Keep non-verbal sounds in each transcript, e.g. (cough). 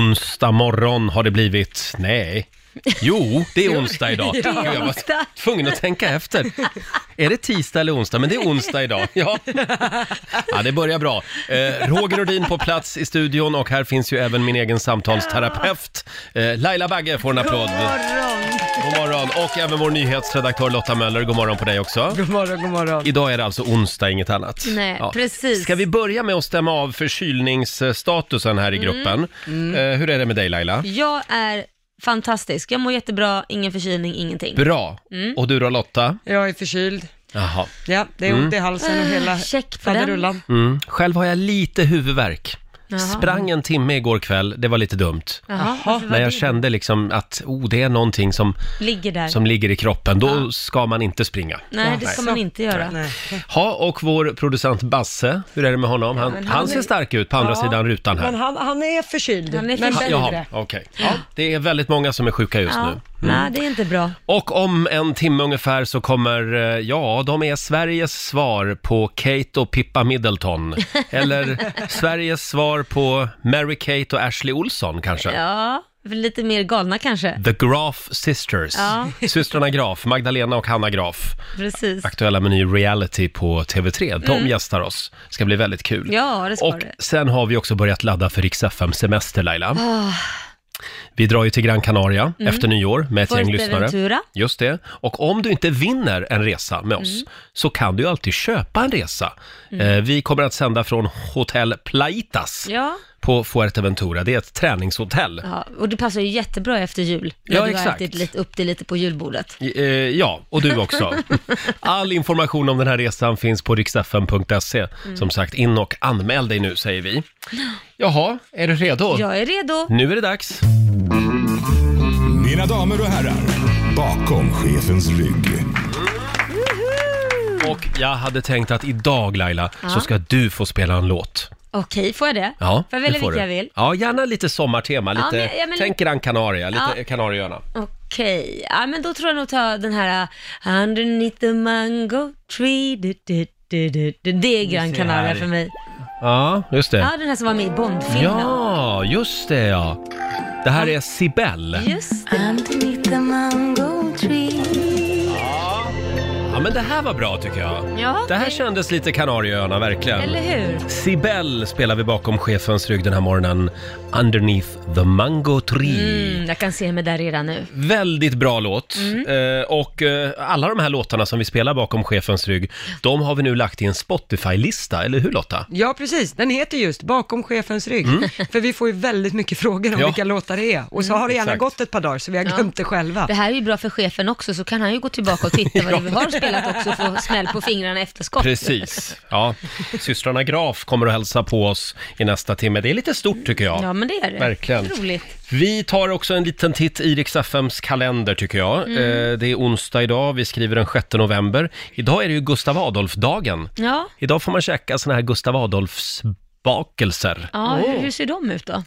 Onsdag morgon har det blivit. Nej. Jo, det är onsdag idag. Det är Gud, jag onsdag. var tvungen att tänka efter. Är det tisdag eller onsdag? Men det är onsdag idag. Ja, ja det börjar bra. Eh, Roger Nordin på plats i studion och här finns ju även min egen samtalsterapeut. Eh, Laila Bagge får en applåd. God morgon! Och även vår nyhetsredaktör Lotta Möller, god morgon på dig också. God morgon, god morgon. Idag är det alltså onsdag, inget annat. Nej, precis. Ska vi börja med att stämma av förkylningsstatusen här i gruppen? Mm. Eh, hur är det med dig Laila? Jag är fantastisk. Jag mår jättebra, ingen förkylning, ingenting. Bra. Mm. Och du då Lotta? Jag är förkyld. Jaha. Ja, det är ont i halsen och Äh, hela Ah, Check på den. faderullan. Mm. Själv har jag lite huvudvärk. Jaha. Sprang en timme igår kväll, det var lite dumt. Jaha, varför var När jag det? kände liksom att oh, det är någonting som, Ligger där. som ligger i kroppen, då ska man inte springa. Nej, det ska man inte göra. Nej. Ja, och vår producent Basse, hur är det med honom? Han, han, men han är- ser stark ut på andra Ja, sidan rutan här. Men han, han är förkyld. Han är men förkyld. bättre. Jaha, okej. Ja, det är väldigt många som är sjuka just Ja. nu. Nej, det är inte bra. Och om en timme ungefär så kommer, eh, ja, de är Sveriges svar på Kate och (laughs) Pippa Middleton. Eller Sveriges svar på Mary-Kate och Ashley Olsson kanske. Ja, lite mer galna kanske. The Graf Sisters. Ja. Systrarna Graf, Magdalena och Hanna Graf. Precis. Aktuella med ny reality på TV3. De gästar oss. Ska bli väldigt kul. Mm. Ja, det ska Och det. sen har vi också börjat ladda för Rix FM-semester, Laila. Ah, Vi drar ju till Gran Canaria Mm. efter nyår med ett gäng lyssnare. Fuerteventura. Just det. Och om du inte vinner en resa med Mm. oss så kan du ju alltid köpa en resa. Eh, Vi kommer att sända från Hotel Plaitas Ja. på Fuerteventura. Det är ett träningshotell. ja, och det passar ju jättebra efter jul. när Ja, du har exakt. ätit lite, upp det lite på julbordet. Eh, Ja, och (laughs) du också. All information om den här resan finns på riksfn.se. Mm. Som sagt, in och anmäl dig nu säger vi. Jaha, är du redo? Jag är redo. Nu är det dags. Mina damer och herrar, bakom chefens rygg. Och jag hade tänkt att idag Laila, så ska du få spela en låt. Okej, får jag det? Ja, får jag välja det får vilka jag du. vill? Ja, gärna lite sommartema, lite, Ja, men- ja, men- tänk Gran Canaria, lite Kanarieöarna. Okej, ja, men då tror jag nog ta den här uh, Underneath the mango tree. Du, du, du, du, du. Det är Gran Canaria här. för mig. Ja, just det. Ja, den här som var med i Bondfilmen. Ja, just det ja. Det här är Sibel. Just Underneath the mango tree Ja, men det här var bra tycker jag. Ja, Det här kändes lite Kanarieöarna, verkligen. eller hur? Sibel spelar vi bakom chefens rygg den här morgonen. Underneath the mango tree. Mm, jag kan se mig där redan nu. Väldigt bra låt. Mm. Eh, och eh, alla de här låtarna som vi spelar bakom chefens rygg, de har vi nu lagt i en Spotify-lista, eller hur Lotta? Ja, precis. Den heter just Bakom chefens rygg. (laughs) För vi får ju väldigt mycket frågor om Mm. Ja. Mm, vilka låtar det är. Och så har det gärna Exakt. gått ett par dagar, så vi har glömt det själva. Det här är ju bra för chefen också, så kan han ju gå tillbaka och titta (laughs) vad det är vi har spelat också och få smäll på fingrarna efter skott. Precis. Ja, systrarna Graf kommer att hälsa på oss i nästa timme. Det är lite stort tycker jag. Ja, men det är det. Verkligen. Roligt. Vi tar också en liten titt i Rix FMs kalender tycker jag. Mm. Eh, det är onsdag idag, vi skriver den 6 november. Idag är det ju Gustav Adolf-dagen. Ja, Idag får man käka såna här Gustav Adolfs bakelser. ja Oh. hur, hur ser de ut då?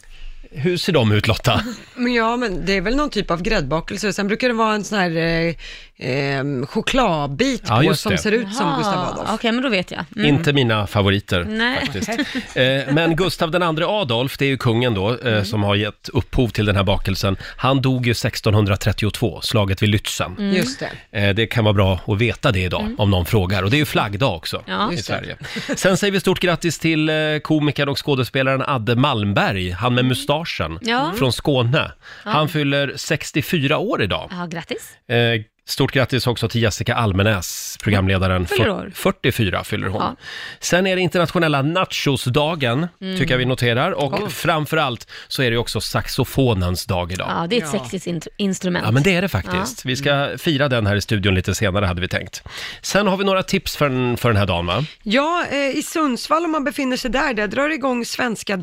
Hur ser de ut Lotta? Men ja, men det är väl någon typ av gräddbakelse. Sen brukar det vara en sån här eh, eh, chokladbit Ja, på just som det. ser ut som Ah, Gustav Adolf. Okej, men då vet jag. Mm. Inte mina favoriter Nej. (laughs) faktiskt. Eh, men Gustav den andre Adolf, det är ju kungen då, eh, Mm. som har gett upphov till den här bakelsen. Han dog ju 1632, slaget vid Lützen. Mm. Just det. Eh, det kan vara bra att veta det idag, om någon frågar. Och det är ju flaggdag också Ja. i Just Sverige. Sen säger vi stort grattis till eh, komikern och skådespelaren Adde Malmberg, han med mustaschen, Ja. från Skåne. Han fyller 64 år idag. Ja, grattis. Eh, Stort grattis också till Jessica Almenäs, programledaren. Fyller Fyr- år. 44 fyller hon. Ja. Sen är det internationella nachosdagen, Mm. tycker jag vi noterar. Och framför allt så är det ju också saxofonens dag idag. Ja. Ja, det är ett Ja. sexigt Mm. int- instrument. men det är det faktiskt. Vi ska fira den här i studion lite senare hade vi tänkt. Sen har vi några tips för den, för den här dagen va? Ja, eh, i Sundsvall om man befinner sig där, där drar det igång Svenska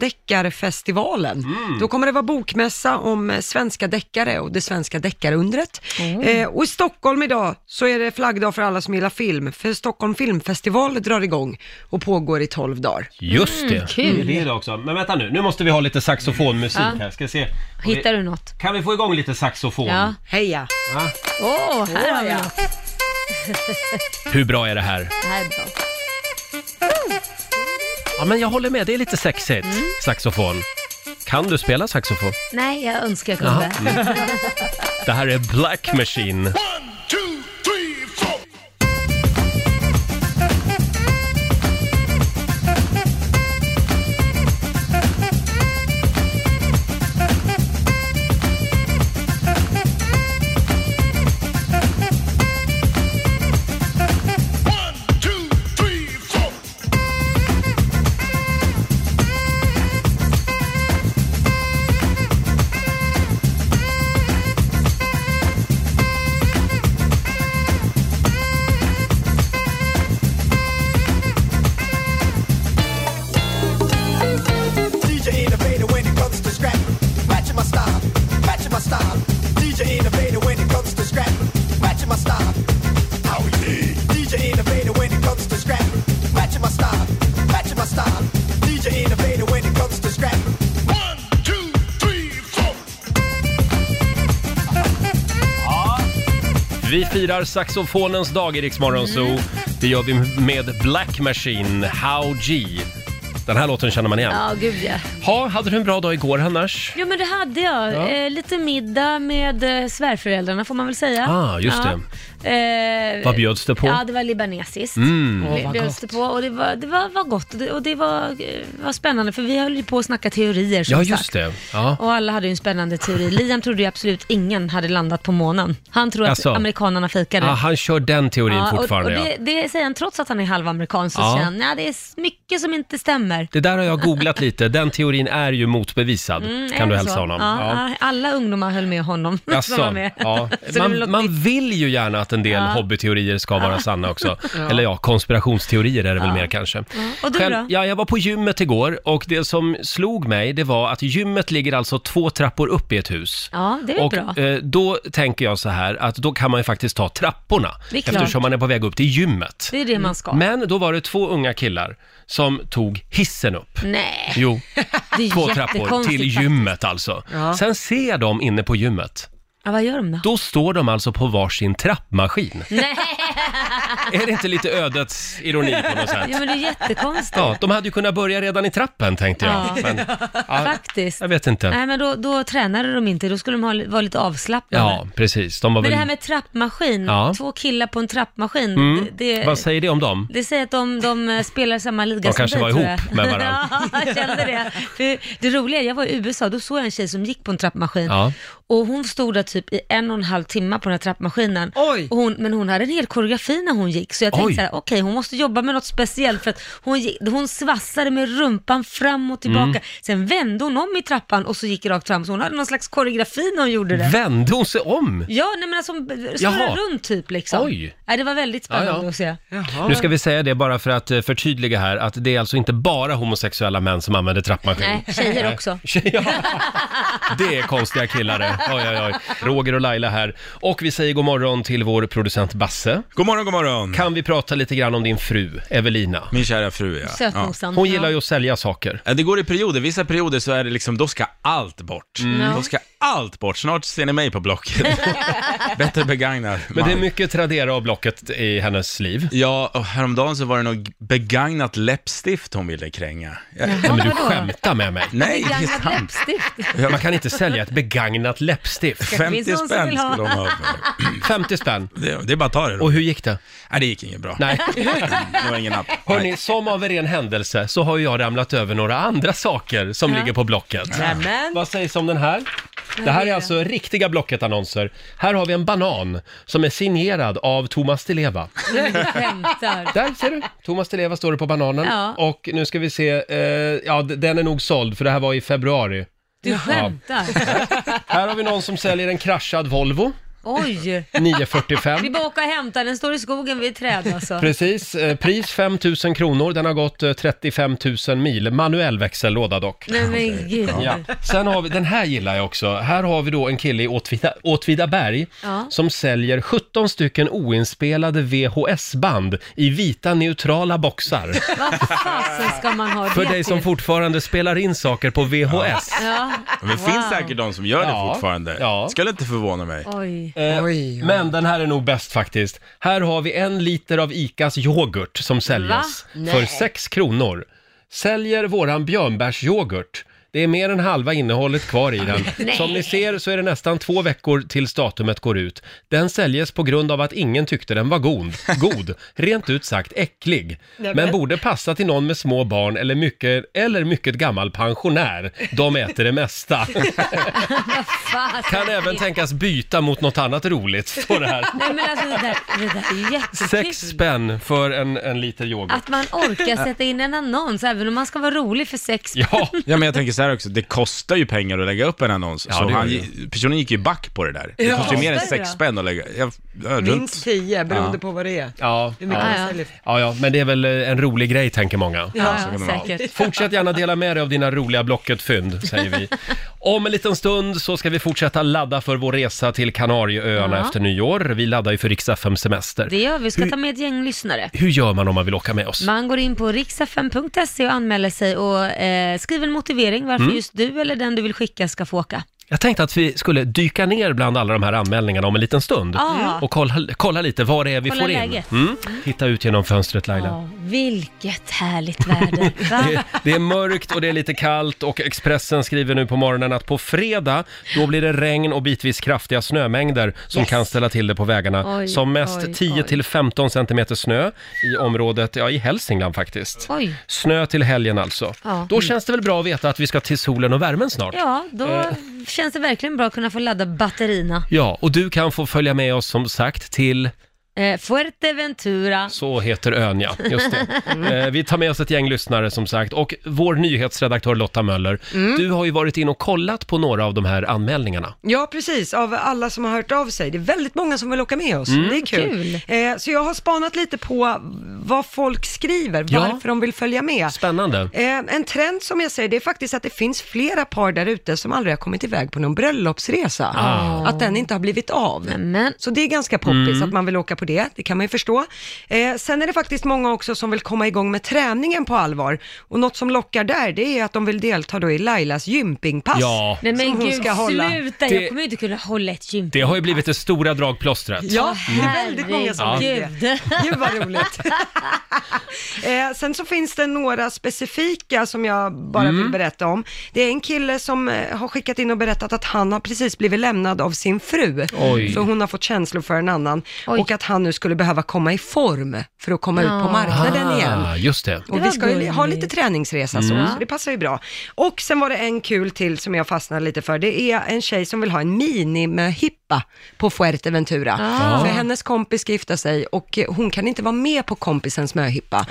deckarfestivalen. Mm. Då kommer det vara bokmässa om eh, svenska deckare och det svenska deckarundret. Mm. Eh, och i Stockholm idag så är det flaggdag för alla som gillar film, för Stockholm filmfestival drar igång och pågår i 12 dagar. Mm, Just det. Mm, Mm. kul. Det är det också. Men vänta nu, nu måste vi ha lite saxofonmusik Ja. här. Ska se. Hittar du något? Kan vi få igång lite saxofon? Ja. Heja! Åh, här har vi något. (laughs) Hur bra är det här? Det här är bra. Mm. Ja, men jag håller med. Det är lite sexigt. Saxofon. Kan du spela saxofon? Nej, jag önskar jag kunde. Det här är Black Machine. DJ innovator when it comes to scrapping. Matching my style, matching my style. DJ innovator when it comes to scrapping. Matching my style. Oh yeah. DJ innovator when it comes to scrapping. Matching my style, matching my style. DJ innovator when it comes to scrapping. One, two, three, four. Vi firar saxofonens dag i Rix Morgon Zoo. Mm. Det gör vi med Black Machine, How G. Den här låten känner man igen. (laughs) Ja, gud ja. Ha, hade du en bra dag igår annars? Jo men det hade jag. Ja. Eh, lite middag med eh, svärföräldrarna får man väl säga. Ah, just det. Eh, Vad bjöds det på? Mm. Ja, det var libanesiskt. Åh, Oh, vad bjöds det gott. på och det var, det var, var gott och det, och det var, eh, var spännande för vi höll ju på att snacka teorier som Ja, just sagt. det. Ja. Och alla hade ju en spännande teori. Liam trodde ju absolut ingen hade landat på månen. Han tror att Alltså. amerikanarna fejkade. Ah, han kör den teorin Ja, fortfarande. och, och ja. det, det säger han trots att han är halvamerikan så Ja. säger han, nej det är mycket som inte stämmer. det där har jag googlat lite. Den teorin är ju motbevisad, Mm, är kan du det hälsa så? honom. Ja, Alla ungdomar höll med honom. (laughs) som var Jaså, med. ja. (laughs) Så det man, låter- man vill ju gärna att en del hobbyteorier ska vara sanna (laughs) också. Eller ja, konspirationsteorier är det väl mer kanske. Och du då? ja, jag var på gymmet igår och det som slog mig det var att gymmet ligger alltså två trappor upp i ett hus. Ja, det är väl och (laughs) bra. eh, då tänker jag så här att då kan man ju faktiskt ta trapporna Det är klart. eftersom man är på väg upp till gymmet. Det är det man ska. Men då var det två unga killar som tog hissen upp. Nej, Jo, (laughs) det är två jättekonstigt trappor till faktiskt. gymmet alltså. Ja. Sen ser jag dem inne på gymmet. Ja, vad gör de då? Då står de alltså på varsin trappmaskin. (laughs) Nej, Är det inte lite ödets ironi på något sätt? (laughs) ja, men det är jättekonstigt Ja, de hade ju kunnat börja redan i trappen tänkte jag. Ja. Men, (laughs) ja, faktiskt. jag vet inte. Nej, men då, då tränade de inte, då skulle de ha, li- vara lite avslappnade. Ja, precis. De var Men det här väl... med trappmaskin, Ja. Mm. två killar på en trappmaskin, det, det, Vad säger det om dem? det säger att de, de eh, spelar i samma liga De som kanske vi, var tror ihop jag. med varandra. (laughs) ja, jag kände det. För det roliga, jag var i USA, då såg jag en tjej som gick på en trappmaskin Ja. och hon stod där typ i en och en halv timme på den här trappmaskinen. Oj. Och hon, men hon hade en hel koreografi när hon gick, så jag Oj. tänkte så här, okej hon måste jobba med något speciellt för att hon, gick, hon svassade med rumpan fram och tillbaka. Mm. Sen vände hon om i trappan och så gick rakt fram, så hon hade någon slags koreografi när hon gjorde det. Vände hon sig om? Ja, nej men alltså hon Jaha. snurrar runt typ liksom. Oj. Nej, det var väldigt spännande Ja, ja. att se. Nu ska vi säga det bara för att eh, förtydliga här, att det är alltså inte bara homosexuella män som använder trappmaskin. Nej, tjejer också. (laughs) (laughs) Ja, det är konstiga killar det. Oj, oj, oj. Roger och Laila här. Och vi säger god morgon till vår producent Basse. God morgon, god morgon. Kan vi prata lite grann om din fru, Evelina? Min kära fru, ja. ja. Sötnosan. Hon gillar ju att sälja saker. Ja, Det går i perioder. Vissa perioder så är det liksom, då ska allt bort. Mm. Ja. Då ska allt bort. Snart ser ni mig (laughs) på Blocket. Bättre begagnad. Men det är man. mycket Tradera och Blocket i hennes liv. Ja, och häromdagen så var det något begagnat läppstift hon ville kränga. Jag... Nej, men du Vadå? skämtar med mig. Nej, det är Begagnat sant. (laughs) läppstift. Man kan inte sälja ett begagnat läppstift. Kanske finns 50 någon som spänn vill ha. skulle hon ha för det. 50 spänn. (laughs) det. Det är bara att ta det då. Och hur gick det? Nej, det gick inget bra. Nej. (laughs) Det var ingen app. Hörni, som av en ren händelse så har ju jag ramlat över några andra saker som ligger på Blocket. Nämen. Vad sägs om den här? Det här är alltså riktiga Blocket-annonser. Här har vi en banan som är signerad av Thomas (laughs) Di Leva. Nej, men du skämtar. Där ser du! Thomas Di Leva står det på bananen. Ja. Och nu ska vi se, eh, ja d- den är nog såld för det här var i februari. Du skämtar. Här har vi någon som säljer en kraschad Volvo, Oj. Vi 945. bara åka och hämta den, står i skogen vid ett träd alltså. Precis, eh, pris 5 000 kronor, den har gått eh, 35 000 mil, manuell växellåda dock. Nej men gud. Ja. Sen har vi, den här gillar jag också. Här har vi då en kille i Åtvida, Åtvidaberg Ja. som säljer 17 stycken oinspelade VHS-band i vita neutrala boxar. Vad fasen ska man ha För det (laughs) dig som till? fortfarande spelar in saker på VHS. Ja, Men det finns säkert de som gör det Ja. fortfarande. Ja. Skulle inte förvåna mig. (laughs) oj. Eh, Oj, ja. Men den här är nog bäst faktiskt. Här har vi en liter av ICAs yoghurt som säljs Va? för 6 kronor. Säljer våran björnbärsyoghurt Det är mer än halva innehållet kvar i den. Nej. Som ni ser så är det nästan två veckor tills datumet går ut. Den säljes på grund av att ingen tyckte den var god. god. Rent ut sagt äcklig. Men borde passa till någon med små barn eller mycket, eller mycket gammal pensionär. De äter (laughs) det mesta. Fan. Kan även tänkas byta mot något annat roligt, står (laughs) det här. Nej men alltså det där, det där är ju jättekul. Sex spänn för en, en liter yoghurt. Att man orkar sätta in en annons även om man ska vara rolig för sex. Ja, Ja men jag tänker så här också, det kostar ju pengar att lägga upp en annons. Ja, så det gör han, det. gi- personen gick ju back på det där. Det Ja. kostar ju mer än Kostar det sex då? spänn att lägga. Jag, jag, Minst runt. 10 beroende Ja. på vad det är. ja, Hur mycket ja. Ja, man ja. säljer. ja, ja, men det är väl eh, en rolig grej tänker många. Ja, så ja, kan det vara. säkert. (laughs) Fortsätt gärna dela med dig av dina roliga Blocket-fynd, säger vi. Om en liten stund så ska vi fortsätta ladda för vår resa till Kanarieöarna Ja. efter nyår. Vi laddar ju för riks semester Det gör vi, vi ska ta med ett gäng lyssnare. Hur gör man om man vill åka med oss? Man går in på riksfm.se och anmäler sig och eh, skriver en motivering varför Mm. just du eller den du vill skicka ska få åka. Jag tänkte att vi skulle dyka ner bland alla de här anmälningarna om en liten stund Mm. Ja. och kolla, kolla lite vad det är vi Ah. Kolla får in. läget. Ah. Mm. Titta ut genom fönstret Laila. Ja, vilket (laughs) härligt väder. Va? Det, det är mörkt och det är lite kallt och Expressen skriver nu på morgonen att på fredag då blir det regn och bitvis kraftiga snömängder som Yes. kan ställa till det på vägarna. Oj, som mest oj, 10 oj. till 15 centimeter snö i området, ja i Hälsingland faktiskt. Oj. Snö till helgen alltså. Ja. Då känns det Eh. väl bra att veta att vi ska till solen och värmen snart. Ja, då känns det verkligen bra att kunna få ladda batterierna. Ja, och du kan få följa med oss som sagt till, Eh, Fuerteventura. så heter ön ja, just det. Mm. Eh, vi tar med oss ett gäng lyssnare som sagt och vår nyhetsredaktör Lotta Möller, Mm. du har ju varit in och kollat på några av de här anmälningarna. Ja, precis. Av alla som har hört av sig. Det är väldigt många som vill åka med oss. Mm. det är kul. Eh, så jag har spanat lite på vad folk skriver, Ja. varför de vill följa med. Spännande. Eh, en trend som jag säger, det är faktiskt att det finns flera par där ute som aldrig har kommit iväg på någon bröllopsresa. Ah. Att den inte har blivit av. Nämen. Så det är ganska poppis Mm. att man vill åka på det, det kan man ju förstå. Eh, sen är det faktiskt många också som vill komma igång med träningen på allvar. Och något som lockar där, det är att de vill delta då i Lailas gympingpass. Ja. Nej Som men hon gud, ska hålla. sluta! Det- Jag kommer ju inte kunna hålla ett gym. Det har ju blivit det stora dragplåstret. Ja, det är väldigt många som vill det. Herregud. (laughs) Gud vad roligt. eh, sen så finns det några specifika som jag bara vill Mm. berätta om. Det är en kille som eh, har skickat in och berättat att han har precis blivit lämnad av sin fru. Oj. Så hon har fått känslor för en annan. Oj. Och att han nu skulle behöva komma i form för att komma ut på marknaden igen. Ah, just det. Det Och var vi ska ju ha gulligt. lite träningsresa så, så det passar ju bra. Och sen var det en kul till som jag fastnade lite för. Det är en tjej som vill ha en minimhippa på Fuerteventura. Ah. För hennes kompis ska gifta sig och eh, hon kan inte vara med på kompisens möhippa.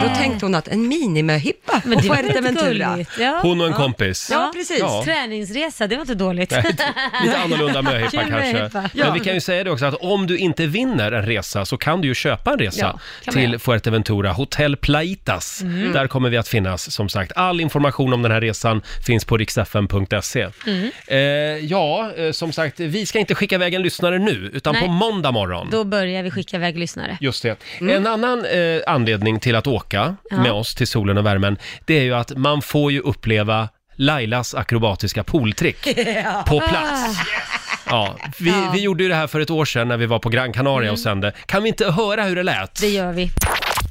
Så då tänkte hon att en minimöhippa Men på det var lite Fuerteventura. gulligt. Ja. Hon och en kompis. Ja, precis. Ja. Träningsresa, det var inte dåligt. Eh, (laughs) Lite annorlunda möhippa Kul kanske. möhippa. Men vi kan ju säga det också att om du inte vinner en resa så kan du ju köpa en resa Ja, kan man till göra. Mm. Fuerteventura Hotel Plaitas. Där kommer vi att finnas som sagt. All information om den här resan finns på riksfn.se. Mm. Eh, ja, eh, som sagt, vi ska inte skicka iväg en lyssnare nu utan Nej. på måndag morgon. Då börjar vi skicka iväg lyssnare. (laughs) Just det. En annan eh, anledning till att åka med oss till solen och värmen, det är ju att man får ju uppleva Lailas akrobatiska (laughs) pooltrick på plats. Ja, vi, vi gjorde ju det här för ett år sedan när vi var på Gran Canaria och sände. Kan vi inte höra hur det lät? Det gör vi.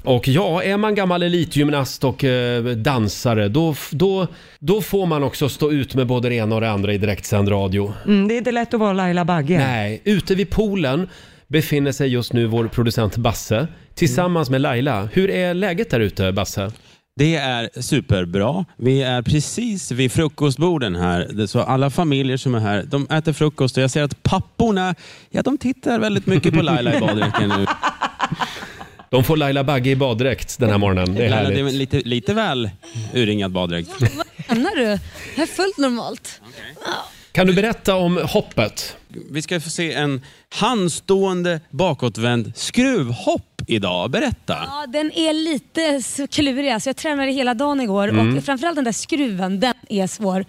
Och ja, är man gammal elitgymnast och eh, dansare, då, f- då, då får man också stå ut med både det ena och det andra i direktsänd radio. Mm, det är inte lätt att vara Laila Bagge. Nej, ute vid poolen befinner sig just nu vår producent Basse tillsammans med Laila. Hur är läget där ute, Basse? Det är superbra. Vi är precis vid frukostborden här. Det- Så alla familjer som är här, de äter frukost och jag ser att papporna, ja de tittar väldigt mycket på (laughs) Laila i baddräkten nu. De får Laila Bagge i baddräkt den här morgonen. Det är Laila, det är härligt. lite, lite väl urringad baddräkt. Menar du? Det är fullt normalt. Kan du berätta om hoppet? Vi ska få se en handstående bakåtvänd skruvhopp idag. Berätta. Ja, den är lite så klurig. Alltså, jag tränade hela dagen igår Mm. och framförallt den där skruven, den är svår.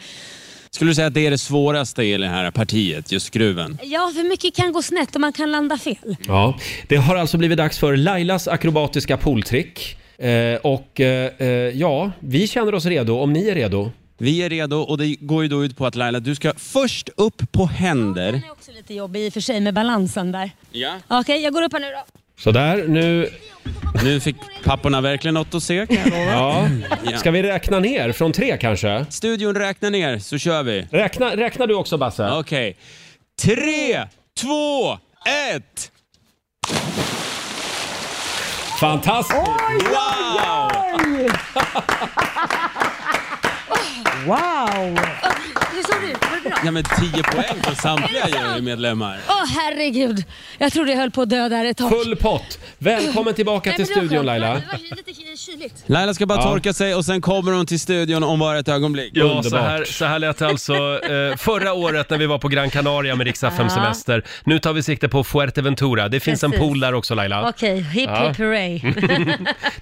Skulle du säga att det är det svåraste i det här partiet, just skruven? Ja, för mycket kan gå snett och man kan landa fel. Ja, (laughs) det har alltså blivit dags för Lailas akrobatiska pooltrick. Eh, och eh, eh, ja, vi känner oss redo om ni är redo. Vi är redo och det går ju då ut på att Laila, du ska först upp på händer. Den är också lite jobbig i och för sig med balansen där. Ja. Okej, jag går upp här nu då. Sådär, nu... Nu fick papporna verkligen något att se kan jag lova. Ja. Ja. Ska vi räkna ner från tre kanske? Studion räknar ner så kör vi. Räkna, räkna du också Basse. Okej. Tre, två, ett! Fantastiskt! Wow! Wow! Hur såg du? Var det bra? Ja men 10 poäng från samtliga jurymedlemmar. Åh herregud! Jag trodde jag höll på att dö där ett tag. Full pott! Välkommen tillbaka Nej, till men det var skönt. studion Laila. Det var lite kyligt. Laila ska bara Ja. torka sig och sen kommer hon till studion om bara ett ögonblick. Ja, Underbart. så här, så här lät det alltså eh, förra året när vi var på Gran Canaria med Rix FM semester. Nu tar vi sikte på Fuerteventura. Det finns en Precis. pool där också Laila. Okej, hipp Ja. hipp (laughs) hurray.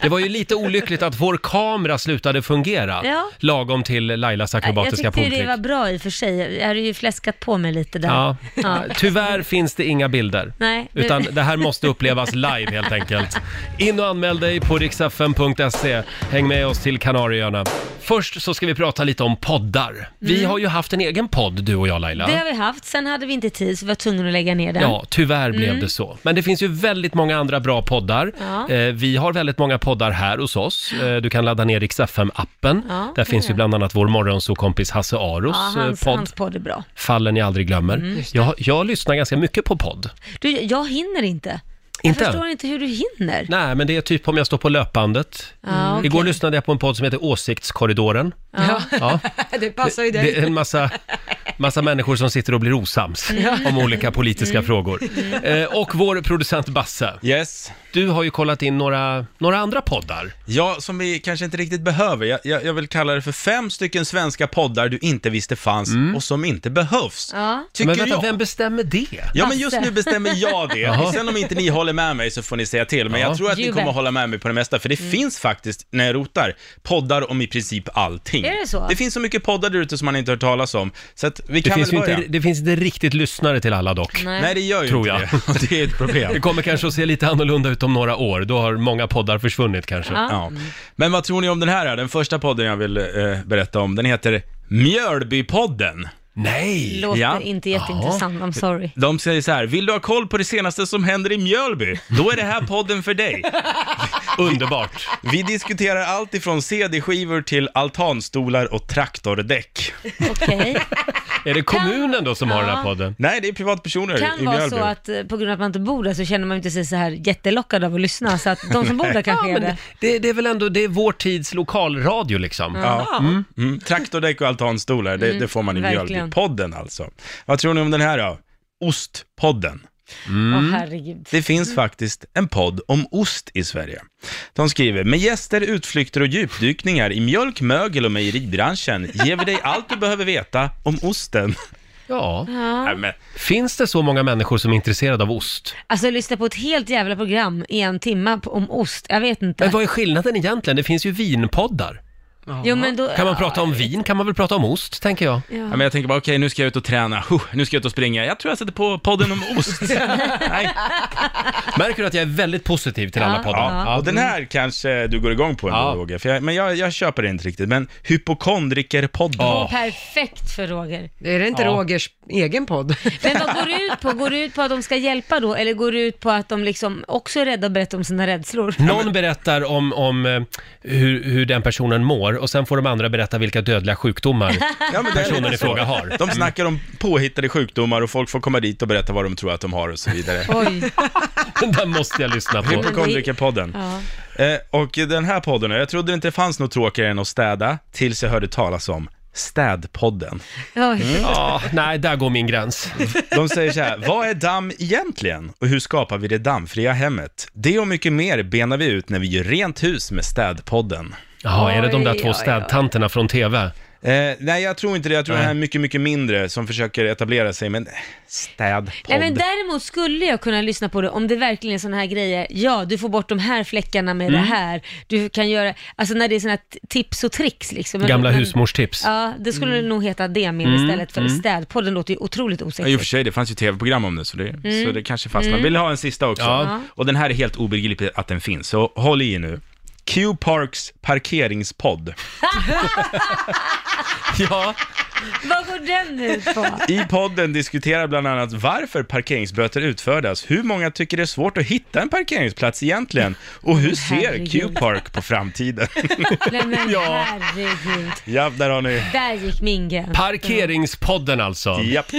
Det var ju lite olyckligt att vår kamera slutade fungera Ja. lagom till Lailas Jag akrobatiska tyckte ju det pooltrick. var bra i och för sig. Jag hade ju fläskat på mig lite där. Ja. Ja. (laughs) Tyvärr finns det inga bilder. Nej, det- Utan det här måste upplevas live helt enkelt. In och anmäl dig på riksfn.se. Häng med oss till Kanarieöarna. Först så ska vi prata lite om poddar. Vi har ju haft en egen podd du och jag Laila. Mm. Det har vi haft, sen hade vi inte tid så vi var tvungna att lägga ner den. Ja, tyvärr Mm. blev det så. Men det finns ju väldigt många andra bra poddar. Ja. Eh, vi har väldigt många poddar här hos oss. Eh, du kan ladda ner Rix FM-appen. Ja, kan Där jag finns ju göra. bland annat vår morgonsokompis Hasse Aros Ja, eh, hans, podd. hans podd Mm. är bra. Fallen jag aldrig glömmer. Jag, jag lyssnar ganska mycket på podd. Du, jag hinner inte. Inte? Jag förstår inte hur du hinner. Nej, men det är typ om jag står på löpbandet. Ja, okej. Igår lyssnade jag på en podd som heter Åsiktskorridoren. Ja. (laughs) Ja. Det passar ju Det dig. är en massa, massa människor som sitter och blir osams Mm. om olika politiska frågor. Eh, och vår producent Basse, Yes. du har ju kollat in några, några andra poddar. Ja, som vi kanske inte riktigt behöver. Jag, jag, jag vill kalla det för fem stycken svenska poddar du inte visste fanns Mm. och som inte behövs. Ja. Tycker men vänta, jag. vem bestämmer det? Ja, men Basse. just nu bestämmer jag (laughs) det. Sen om inte ni håller med mig så får ni säga till. Men Ja. jag tror att ni You kommer bet. Mm. hålla med mig på det mesta, för det finns faktiskt, när jag rotar, poddar om i princip allting. Är det så? Det finns så mycket poddar där ute som man inte hört talas om. Så att vi Det kan finns, ju väl börja. inte, det finns inte riktigt lyssnare till alla dock. Nej. Nej, det gör ju Tror inte jag. det. (laughs) Och Det är ett problem. Det kommer kanske att se lite annorlunda ut om några år. Då har många poddar försvunnit kanske. Ja. Mm. Ja. Men vad tror ni om den här? då? Den första podden jag vill eh, berätta om, den heter Mjölbypodden. Nej! Låter Ja. inte jätteintressant, I'm sorry. De säger så här, vill du ha koll på det senaste som händer i Mjölby? Då är det här podden för dig. (laughs) Underbart! Vi diskuterar allt ifrån CD-skivor till altanstolar och traktordäck. Okej. (laughs) Är det kommunen då som har den här Ja. podden? Nej, det är privatpersoner Det kan i vara Mjölby. så att eh, på grund av att man inte bor där så känner man inte sig så här jättelockad av att lyssna. Så att de som bor (laughs) där kanske är det. Det, det är väl ändå, det är vår tids lokalradio liksom. Ja. Mm. Mm. Traktordäck och altanstolar, det, det får man i Mm. verkligen. Mjölbypodden alltså. Vad tror ni om den här då? Ostpodden. Åh Mm. herregud. Mm. Mm. Det finns faktiskt en podd om ost i Sverige. De skriver, med gäster, utflykter och djupdykningar i mjölk, mögel och mejeribranschen ger vi dig allt du behöver veta om osten. (laughs) Ja. Nej, men, Finns det så många människor som är intresserade av ost? Alltså lyssna på ett helt jävla program i en timme på- om ost. Jag vet inte. Men vad är skillnaden egentligen? Det finns ju vinpoddar. Jo, men då, Kan man prata om vin kan man väl prata om ost, tänker jag. ja, men jag tänker bara, okej nu ska jag ut och träna, huh, nu ska jag ut och springa, jag tror jag sätter på podden om (laughs) ost. Nej. Märker du att jag är väldigt positiv till Ja. alla poddar? Ja, och den här kanske du går igång på ändå, Ja. Roger, för jag, men jag, jag köper det inte riktigt. Men hypokondrikerpodden. Ja. Perfekt för Roger. Är det inte Ja. Rogers egen podd? Men vad går det ut på? Går det ut på att de ska hjälpa då? Eller går det ut på att de liksom också är rädda och berättar om sina rädslor? (laughs) Någon berättar om, om eh, hur, hur den personen mår och sen får de andra berätta vilka (laughs) dödliga sjukdomar Ja, men det är personen lite i så. fråga har. Mm. De snackar om påhittade sjukdomar och folk får komma dit och berätta vad de tror att de har och så vidare. Oj. (laughs) Den där måste jag lyssna på. Hypokondrikerpodden. Ja. Eh, och den här podden, jag trodde inte det fanns något tråkigare än att städa, tills jag hörde talas om Städpodden. Mm. Oj. Ja, nej, där går min gräns. De säger så här, vad är damm egentligen? Och hur skapar vi det dammfria hemmet? Det och mycket mer benar vi ut när vi gör rent hus med Städpodden. Jaha, är det de där Oj, två oj, oj. städtanterna från TV? Eh, nej, jag tror inte det. Jag tror Nej. det här är mycket, mycket mindre som försöker etablera sig, men Nej, Städpodd. men däremot skulle jag kunna lyssna på det om det verkligen är sådana här grejer. Ja, du får bort de här fläckarna med Mm. det här. Du kan göra, alltså när det är sådana här t- tips och tricks liksom. Men- Gamla men- husmorstips. Mm. Ja, det skulle nog heta det mer istället för städpodden låter ju otroligt Ja, i och osexigt. för sig, det fanns ju tv-program om det, så det, så det kanske fastnar. Vill ni ha en sista också? Ja. Och den här är helt obegriplig att den finns, så håll i er nu. Q Parks parkeringspodd. (laughs) Ja, Vad går den ut på? I podden diskuterar bland annat varför parkeringsböter utfärdas, hur många tycker det är svårt att hitta en parkeringsplats egentligen och hur ser Herregud. Q-Park på framtiden? (laughs) (laughs) Nej men Ja. herregud. ja, där har ni. Där gick min gräns. Parkeringspodden alltså. Japp,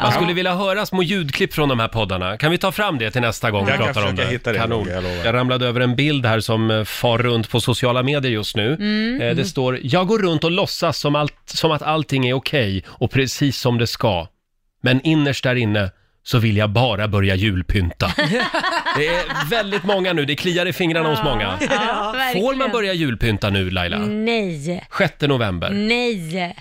Man skulle vilja höra små ljudklipp från de här poddarna. Kan vi ta fram det till nästa gång vi Jag kan pratar om det? försöka hitta det, Kanon. Roger, jag lovar. Jag ramlade över en bild här som eh, far runt på sociala medier just nu. Mm. Eh, Det står “Jag går runt och låtsas som, allt, som att allting är okej och precis som det ska. Men innerst där inne så vill jag bara (laughs) börja julpynta.” Det är väldigt många nu, det kliar i fingrarna hos många. Ja, Får verkligen. Mm. man börja julpynta nu Laila? Nej, 6 november. nej.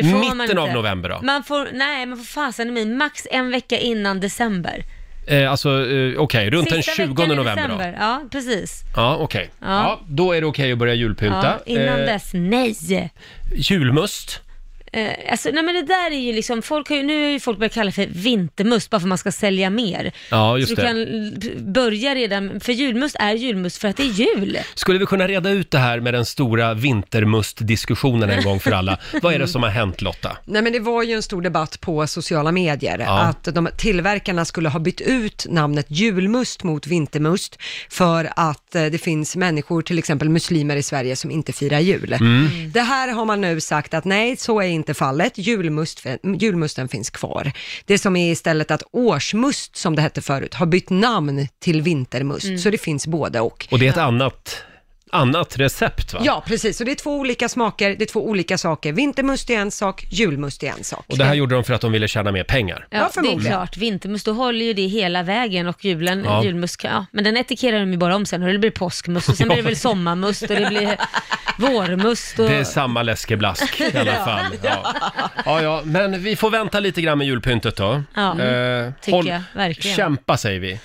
Det får man Mitten inte. av november då? Man får, nej, man får fasen i mig max en vecka innan december. Eh, alltså, eh, okej, runt den Sista 20 veckan i november då? december. Ja, precis. Ja, okej. Ja. Ja. då är det okej att börja julpynta. Ja, innan Eh, dess, nej. Julmust. Eh, alltså, nej men det där är ju liksom, folk har ju, nu är ju folk börjat kalla det för vintermust bara för att man ska sälja mer. Ja, just så du det. kan l- börja redan, för julmust är julmust för att det är jul. Skulle vi kunna reda ut det här med den stora vintermustdiskussionen en gång (laughs) för alla? Vad är det som har hänt Lotta? Nej men det var ju en stor debatt på sociala medier Ja. att de tillverkarna skulle ha bytt ut namnet julmust mot vintermust för att eh, det finns människor, till exempel muslimer i Sverige, som inte firar jul. Mm. Det här har man nu sagt att nej, så är inte fallet. Julmust, julmusten finns kvar. Det som är istället att årsmust, som det hette förut, har bytt namn till vintermust, så det finns både och. Och det är ett annat, annat recept va? Ja, precis. Så det är två olika smaker, det är två olika saker. Vintermust är en sak, julmust är en sak. Och det här gjorde de för att de ville tjäna mer pengar. Ja, det är förmodligen. klart. Vintermust, då håller ju det hela vägen och julen, Ja. julmust, kan- ja. Men den etikerar de ju bara om sen och det blir påskmust och sen (laughs) Ja. blir det väl sommarmust och det (laughs) blir vårmust och... Det är samma läskeblask (laughs) i alla fall. Ja. Ja, ja, men vi får vänta lite grann med julpyntet då. Ja, Mm. Eh, tycker jag, verkligen. Kämpa säger vi.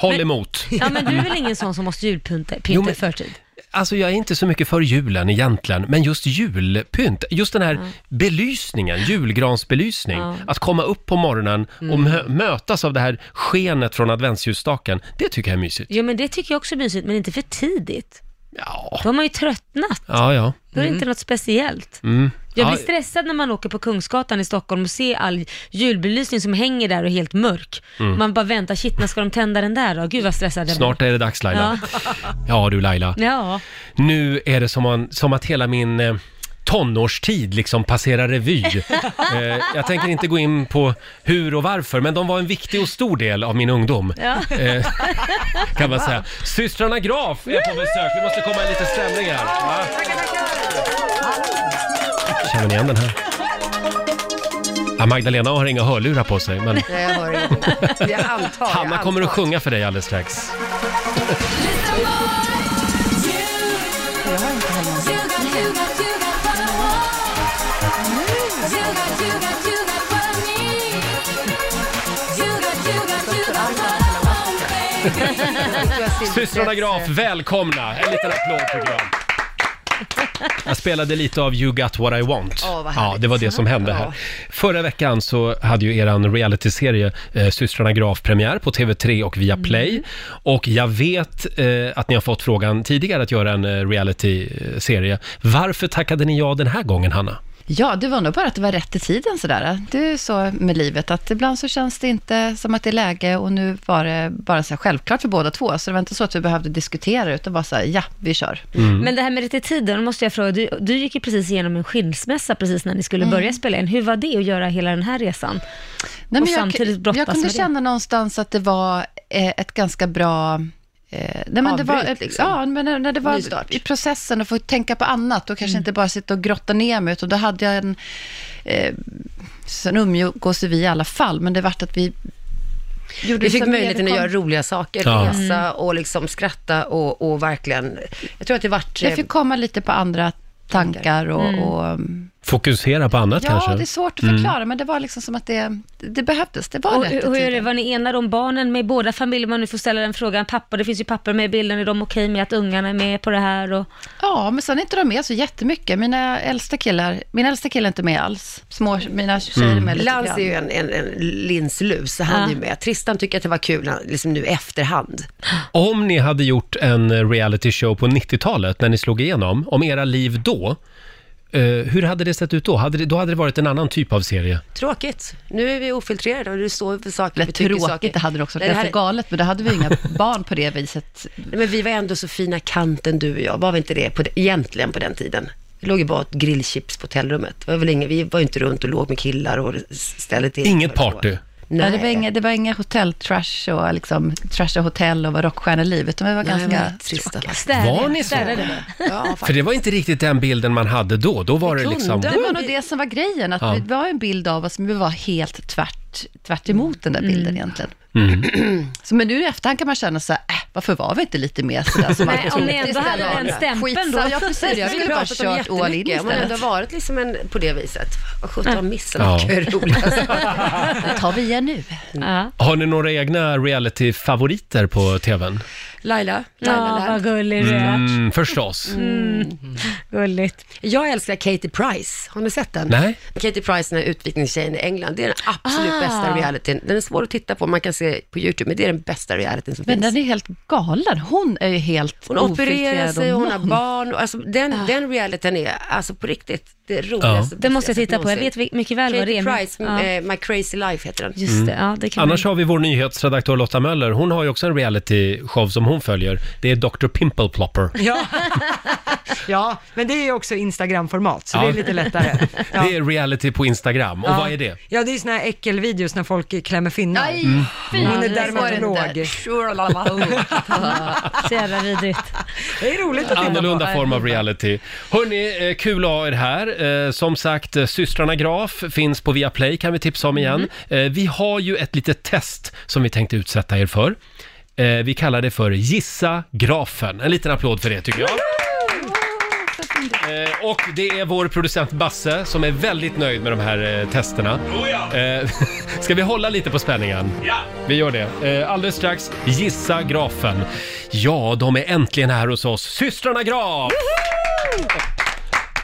Håll emot. Ja men du är väl ingen sån som måste julpynta Jo, jo, men- i förtid? Alltså jag är inte så mycket för julen egentligen, men just julpynt, just den här belysningen, julgransbelysning, Ja. Mm. att komma upp på morgonen och mö- mötas av det här skenet från adventsljusstaken, det tycker jag är mysigt. Jo men det tycker jag också är mysigt, men inte för tidigt. Ja, Då har man ju tröttnat, ja, ja. då är det inte något speciellt. Mm. Jag blir Ja, stressad när man åker på Kungsgatan i Stockholm och ser all julbelysning som hänger där och är helt mörk. Man bara väntar, shit när ska de tända den där då? Gud vad stressad jag Mm. Snart är det dags Laila. Ja, du (laughs) Laila. blir. Ja. Nu är det som, man, som att hela min eh, tonårstid liksom (laughs) passerar revy. eh, jag tänker inte gå in på hur och varför, men de var en viktig och stor del av min ungdom. Ja. Eh, kan man säga. Systrarna Graf är på besök. Vi måste komma i lite stämning här. Va? Känner ni igen den här? Ja, Magdalena har inga hörlurar på sig, men Nej, jag hör inte. Jag antar. jag Hanna kommer att antar. sjunga för dig alldeles strax. Systrarna Graf, välkomna! En liten applåd tycker jag. Jag spelade lite av You Got What I Want. Åh, vad härligt. ja, det var det som hände här. Förra veckan så hade ju eran realityserie eh, Systrarna Graf premiär på TV3 och Mm. via Play. Och jag vet eh, att ni har fått frågan tidigare att göra en eh, realityserie. Varför tackade ni ja den här gången, Hanna? Ja, det var nog bara att det var rätt i tiden sådär. Det är så med livet, att ibland så känns det inte som att det är läge och nu var det bara så här självklart för båda två, så det var inte så att vi behövde diskutera, utan bara så här, ja, vi kör. Mm. Men det här med rätt i tiden, då måste jag fråga, du, du gick ju precis igenom en skilsmässa precis när ni skulle börja spela in. Hur var det att göra hela den här resan? Mm. Nej, Och men samtidigt jag, brottas jag kunde med det. känna någonstans att det var eh, ett ganska bra... Eh, nej, men det var, Avbryt, liksom. Ja, men när, när det var i processen och få tänka på annat och Mm. kanske inte bara sitta och grotta ner mig, utan då hade jag en... Eh, sen umgås ju vi i alla fall, men det vart att vi... Gjorde Vi det fick som möjligheten att kom- göra roliga saker, Ja. Mm. resa och liksom skratta och, och verkligen... Jag tror att det vart... eh, Jag fick komma lite på andra tankar och... Mm. och Fokusera på annat ja, kanske? Mm. det är svårt att förklara, men det var liksom som att det, det behövdes. Det var Och rätt i hur, hur är det, tiden. var ni enade om barnen med båda familjer? Man nu får ställa den frågan, pappa, det finns ju papper med i bilden, är de okej med att ungarna är med på det här? Och... Ja, men sen är inte de med så jättemycket. Mina äldsta killar, min äldsta kille är inte med alls. Små, mina tjejer Mm. är med lite Lans är grann. ju en, en, en linslus, så han Ja. är ju med. Tristan tycker att det var kul han- liksom nu i efterhand. Om ni hade gjort en reality show på 90-talet när ni slog igenom, om era liv då, Eh, hur hade det sett ut då? Hade det, då hade det varit en annan typ av serie. Tråkigt. Nu är vi ofiltrerade och det står för saker Eller vi tycker tråkigt, saker. det hade det också varit. Nej, Ganska galet, men då hade vi inga (laughs) barn på det viset. Nej, men vi var ändå så fina kanten, du och jag. Var vi inte det på, egentligen på den tiden? Det låg ju bara ett grillchips på hotellrummet. Det var väl ingen, vi var ju inte runt och låg med killar och ställde till. Inget party. Nej. det, var inga, det var inga hotell-trash och liksom, trasha hotell och var rockstjärneliv, utan vi var Nej, ganska men trista. Var ni så? Städade vi. För det var inte riktigt den bilden man hade då. Då var det liksom... Det var nog det som var grejen, att Ja. vi var en bild av oss, men vi var helt tvärt, tvärt emot den där bilden egentligen. Mm. (clears throat) Så, men nu i efterhand kan man känna så här, äh, varför var vi inte lite mer sådär som man Nej, om ni trodde ändå hade istället? den stämpeln Skitsamma, då. Ja, precis. Jag skulle bara kört all in Om man ändå istället. har varit liksom en, på det viset. Vad sjutton missade Ja. man ja. (laughs) roliga Det tar vi igen nu. Har ni några egna reality-favoriter på tvn? Laila, Ja, vad gullig du är. Mm, förstås. Mm. Gulligt. Jag älskar Katie Price. Har ni sett den? Nej. Katie Price, den här utvikningstjejen i England. Det är den absolut Ah. bästa realityn. Den är svår att titta på, man kan se på YouTube, men det är den bästa realityn som Men finns. den är helt galen. Hon är ju helt Mm. Hon opererar ofiltrerad sig, och hon har någon. barn. och Alltså, den, Ah. den realityn är alltså på riktigt det roligaste. Ja. Den måste jag bästa titta på. Jag någonsin. vet vi- mycket väl vad det Katie är, men- Price, ja. eh, My Crazy Life heter den. Just det, ja det kan Mm. Annars har vi vår nyhetsredaktör Lotta Möller. Hon har ju också en reality-show som hon följer. Det är Dr. Pimple Plopper. Ja. (laughs) ja, men det är ju också Instagram-format, så det är lite lättare. Ja. Det är reality på Instagram. (laughs) Och Ja. vad är det? Ja, det är ju såna här äckelvideos när folk klämmer finnar. Nej, Mm. fy, Hon är det går dermatolog. inte. (laughs) man. oh. Så jävla vidrigt. Det är roligt att titta Annorlunda på. form av reality. Hörni, eh, kul att ha er här. Eh, Som sagt, eh, systrarna Graf finns på Viaplay kan vi tipsa om igen. Mm. Eh, Vi har ju ett litet test som vi tänkte utsätta er för. Eh, Vi kallar det för Gissa Grafen. En liten applåd för det tycker jag. Eh, Och det är vår producent Basse som är väldigt nöjd med de här eh, testerna. Eh, (laughs) Ska vi hålla lite på spänningen? Ja! Vi gör det. Eh, Alldeles strax, Gissa Grafen. Ja, de är äntligen här hos oss, systrarna Graf!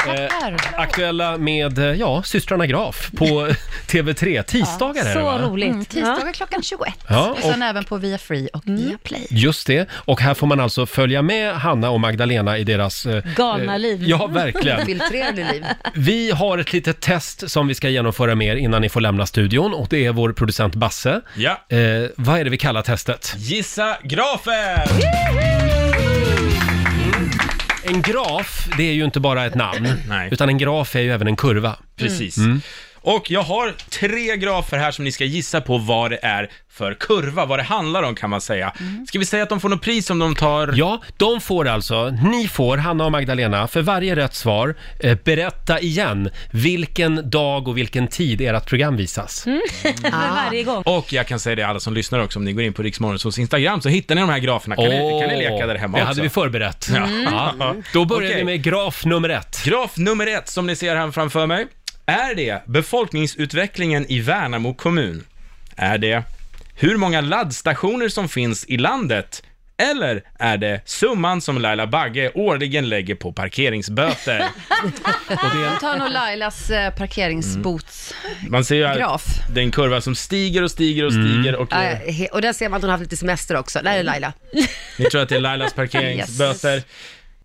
Eh, aktuella med, eh, ja, systrarna Graf på (laughs) TV3. Tisdagar är det va? Mm, tisdagar klockan 21. Ja, och sen och- även på Via Free och Mm. Via Play. Just det, och här får man alltså följa med Hanna och Magdalena i deras... eh, Galna eh, liv. (laughs) Ja, verkligen. Filtrerade liv. Vi har ett litet test som vi ska genomföra med er innan ni får lämna studion och det är vår producent Basse. Ja. Eh, vad är det vi kallar testet? Gissa grafen! En graf, det är ju inte bara ett namn, Nej. utan en graf är ju även en kurva. Mm. Precis. Och jag har tre grafer här som ni ska gissa på vad det är för kurva, vad det handlar om kan man säga. Ska vi säga att de får något pris om de tar... Mm. Ja, de får alltså, ni får, Hanna och Magdalena, för varje rätt svar eh, berätta igen vilken dag och vilken tid ert program visas. Mm. Mm. Mm. För (laughs) varje gång. Och jag kan säga det alla som lyssnar också, om ni går in på Riksmorgonsols Instagram så hittar ni de här graferna. Kan, ni, kan ni leka där hemma det också? hade vi förberett. Ja. Då börjar Okej. vi med graf nummer ett. Graf nummer ett som ni ser här framför mig. Är det befolkningsutvecklingen i Värnamo kommun? Är det hur många laddstationer som finns i landet? Eller är det summan som Laila Bagge årligen lägger på (laughs) parkeringsböter? Jag tar nog Lailas eh, parkeringsbots. Man ser ju här, Graf. det är en kurva som stiger och stiger och stiger Mm. och Ja, eh, he- och där ser man att hon har haft lite semester också. Där är Laila. ni tror att det är (laughs) Lailas parkeringsböter.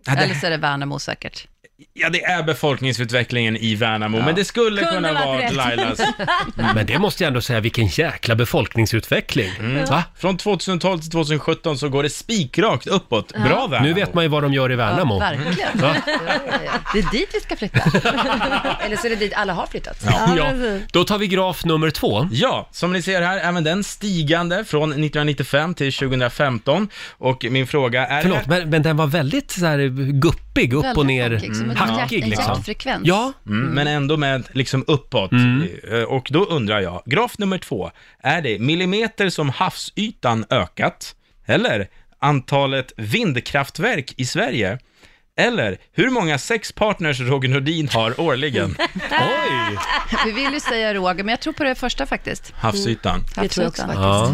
Ja, Eller det, så är det Värnamo säkert. ja, det är befolkningsutvecklingen i Värnamo, men det skulle Kunde kunna varit vara rätt. Lailas. (laughs) Men det måste jag ändå säga, vilken jäkla befolkningsutveckling. Va? Mm. Från 2012 till 2017 så går det spikrakt uppåt. Bra Värnamo! Mm. Nu vet man ju vad de gör i Värnamo. Verkligen. Va? Det är dit vi ska flytta. (laughs) Eller så är det dit alla har flyttat. Ja. Då tar vi graf nummer två. Ja, som ni ser här, även den stigande från 1995 till 2015. Och min fråga är... Förlåt, men, men den var väldigt så här guppig, upp och Väldigt ner, hackig, som ett hackig hjärt- en liksom. hjärtfrekvens. Ja, Mm. Mm, Men ändå med liksom uppåt. Eh, Och då undrar jag, graf nummer två, är det millimeter som havsytan ökat? Eller antalet vindkraftverk i Sverige? Eller hur många sexpartners Roger Nordin har årligen? oj! (laughs) Vi vill ju säga Roger, men jag tror på det första faktiskt. Havsytan. Det tror jag också faktiskt. Ja.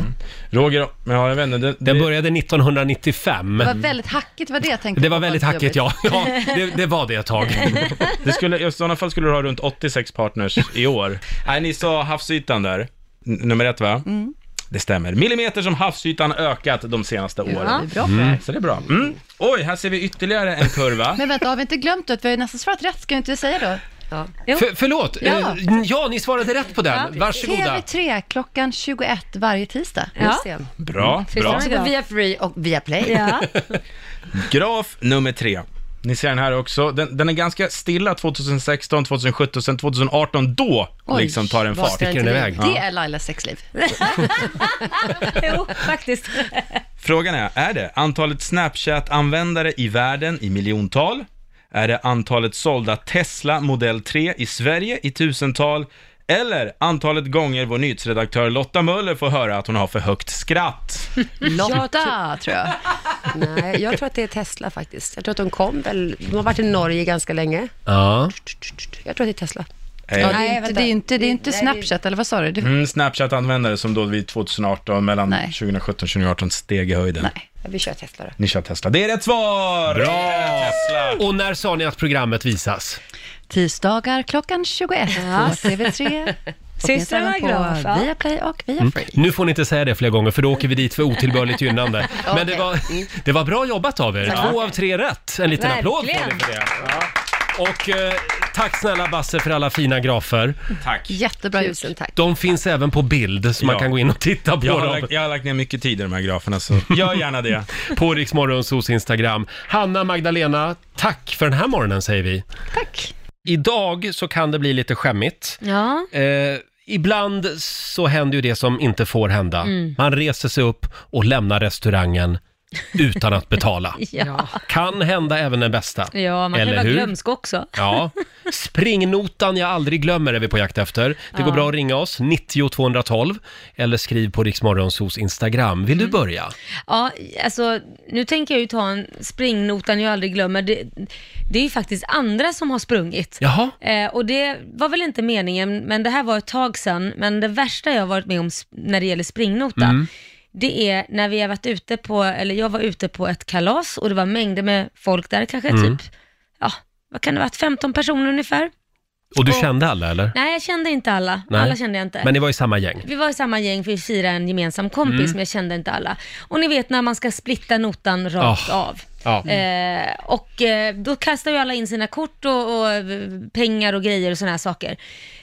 Roger, ja, jag vet inte. Det, Den det- började 1995. Det var väldigt hackigt, var det jag tänkte Det på. var väldigt hackigt, ja. ja det, det var det ett tag. (laughs) Det skulle, I sådana fall skulle du ha Mm. Mm. Mm. runt 86 partners i år. Nej, ni sa havsytan där. N- nummer ett, va? Det stämmer. Millimeter som havsytan ökat de senaste Ja, åren. det är bra för er. Så det är bra. Mm. Oj, här ser vi ytterligare en kurva. Men vänta, har vi inte glömt att vi har ju nästan svarat rätt? Ska vi inte säga då? Ja. För, förlåt, Ja. ja. ja, ni svarade rätt på den. Varsågoda. TV3 klockan 21 varje tisdag. Ja. Just det. Bra, Finns bra. också på Via Free och Via Play. Ja. Graf nummer tre. Ni ser den här också. Den, den är ganska stilla 2016, 2017, sen 2018 då Oj, liksom tar den vad fart. ska inte bli? Det Ja. är Lailas sexliv. jo, faktiskt. Frågan är, är det antalet Snapchat-användare i världen i miljontal? Är det antalet sålda Tesla Model 3 i Sverige i tusental? Eller antalet gånger vår nyhetsredaktör Lotta Möller får höra att hon har för högt (laughs) skratt? Lotta, tror jag. Nej, jag tror att det är Tesla faktiskt. Jag tror att de kom väl, de har varit i Norge ganska länge. Ja. Jag tror att det är Tesla. Eh. Ja, det är inte, det är inte, det är inte Nej, det- Snapchat, eller vad sa du? Det- Mm, Snapchat-användare som då vid 2018, mellan 2017 och 2018 steg i höjden. Vi kör Tesla då. Ni kör Tesla. Det är rätt svar! Bra! Och när sa ni att programmet visas? Tisdagar klockan 21 Ja. på TV3. Och Systrarna finns även Graf, ja. På Via Play och Via Mm. Free. Nu får ni inte säga det fler gånger för då åker vi dit för otillbörligt gynnande. Men det, Okej. var, det var bra jobbat av er. Tack. Två av tre rätt. En liten applåd får ni för det. Och eh, tack snälla Basse för alla fina grafer. Tack. Jättebra gjort. tack. De finns även på bild så man Ja. kan gå in och titta på Jag har, dem. lagt, jag har lagt ner mycket tid i de här graferna, så gör gärna det. (laughs) På Riksmorgonsos Instagram. Hanna Magdalena, tack för den här morgonen säger vi. Tack. Idag så kan det bli lite skämmigt. Ja. Eh, ibland så händer ju det som inte får hända. Mm. Man reser sig upp och lämnar restaurangen utan (laughs) att betala. Ja. Kan hända även den bästa. Ja, man Eller kan hur? vara glömsk också. Ja, springnotan jag aldrig glömmer är vi på jakt efter. Det går Ja. bra att ringa oss, 90 212 eller skriv på Riksmorgonsos Instagram. Vill Mm. du börja? (laughs) Ja, alltså nu tänker jag ju ta en springnotan jag aldrig glömmer. Det, det är ju faktiskt andra som har sprungit. Jaha. Eh, och det var väl inte meningen, men det här var ett tag sedan. Men det värsta jag har varit med om sp- när det gäller springnota, Mm. det är när vi har varit ute på, eller jag var ute på ett kalas och det var mängder med folk där, kanske Mm. typ, ja, vad kan det ha varit, 15 personer ungefär. Och du Och- kände alla eller? Nej, jag kände inte alla. Nej. Alla kände jag inte. Men ni var i samma gäng? Vi var i samma gäng för vi firade en gemensam kompis, Mm. men jag kände inte alla. Och ni vet när man ska splitta notan rakt Ah. av. Ja. Eh, och eh, då kastar ju alla in sina kort och, och eh, pengar och grejer och sådana här saker.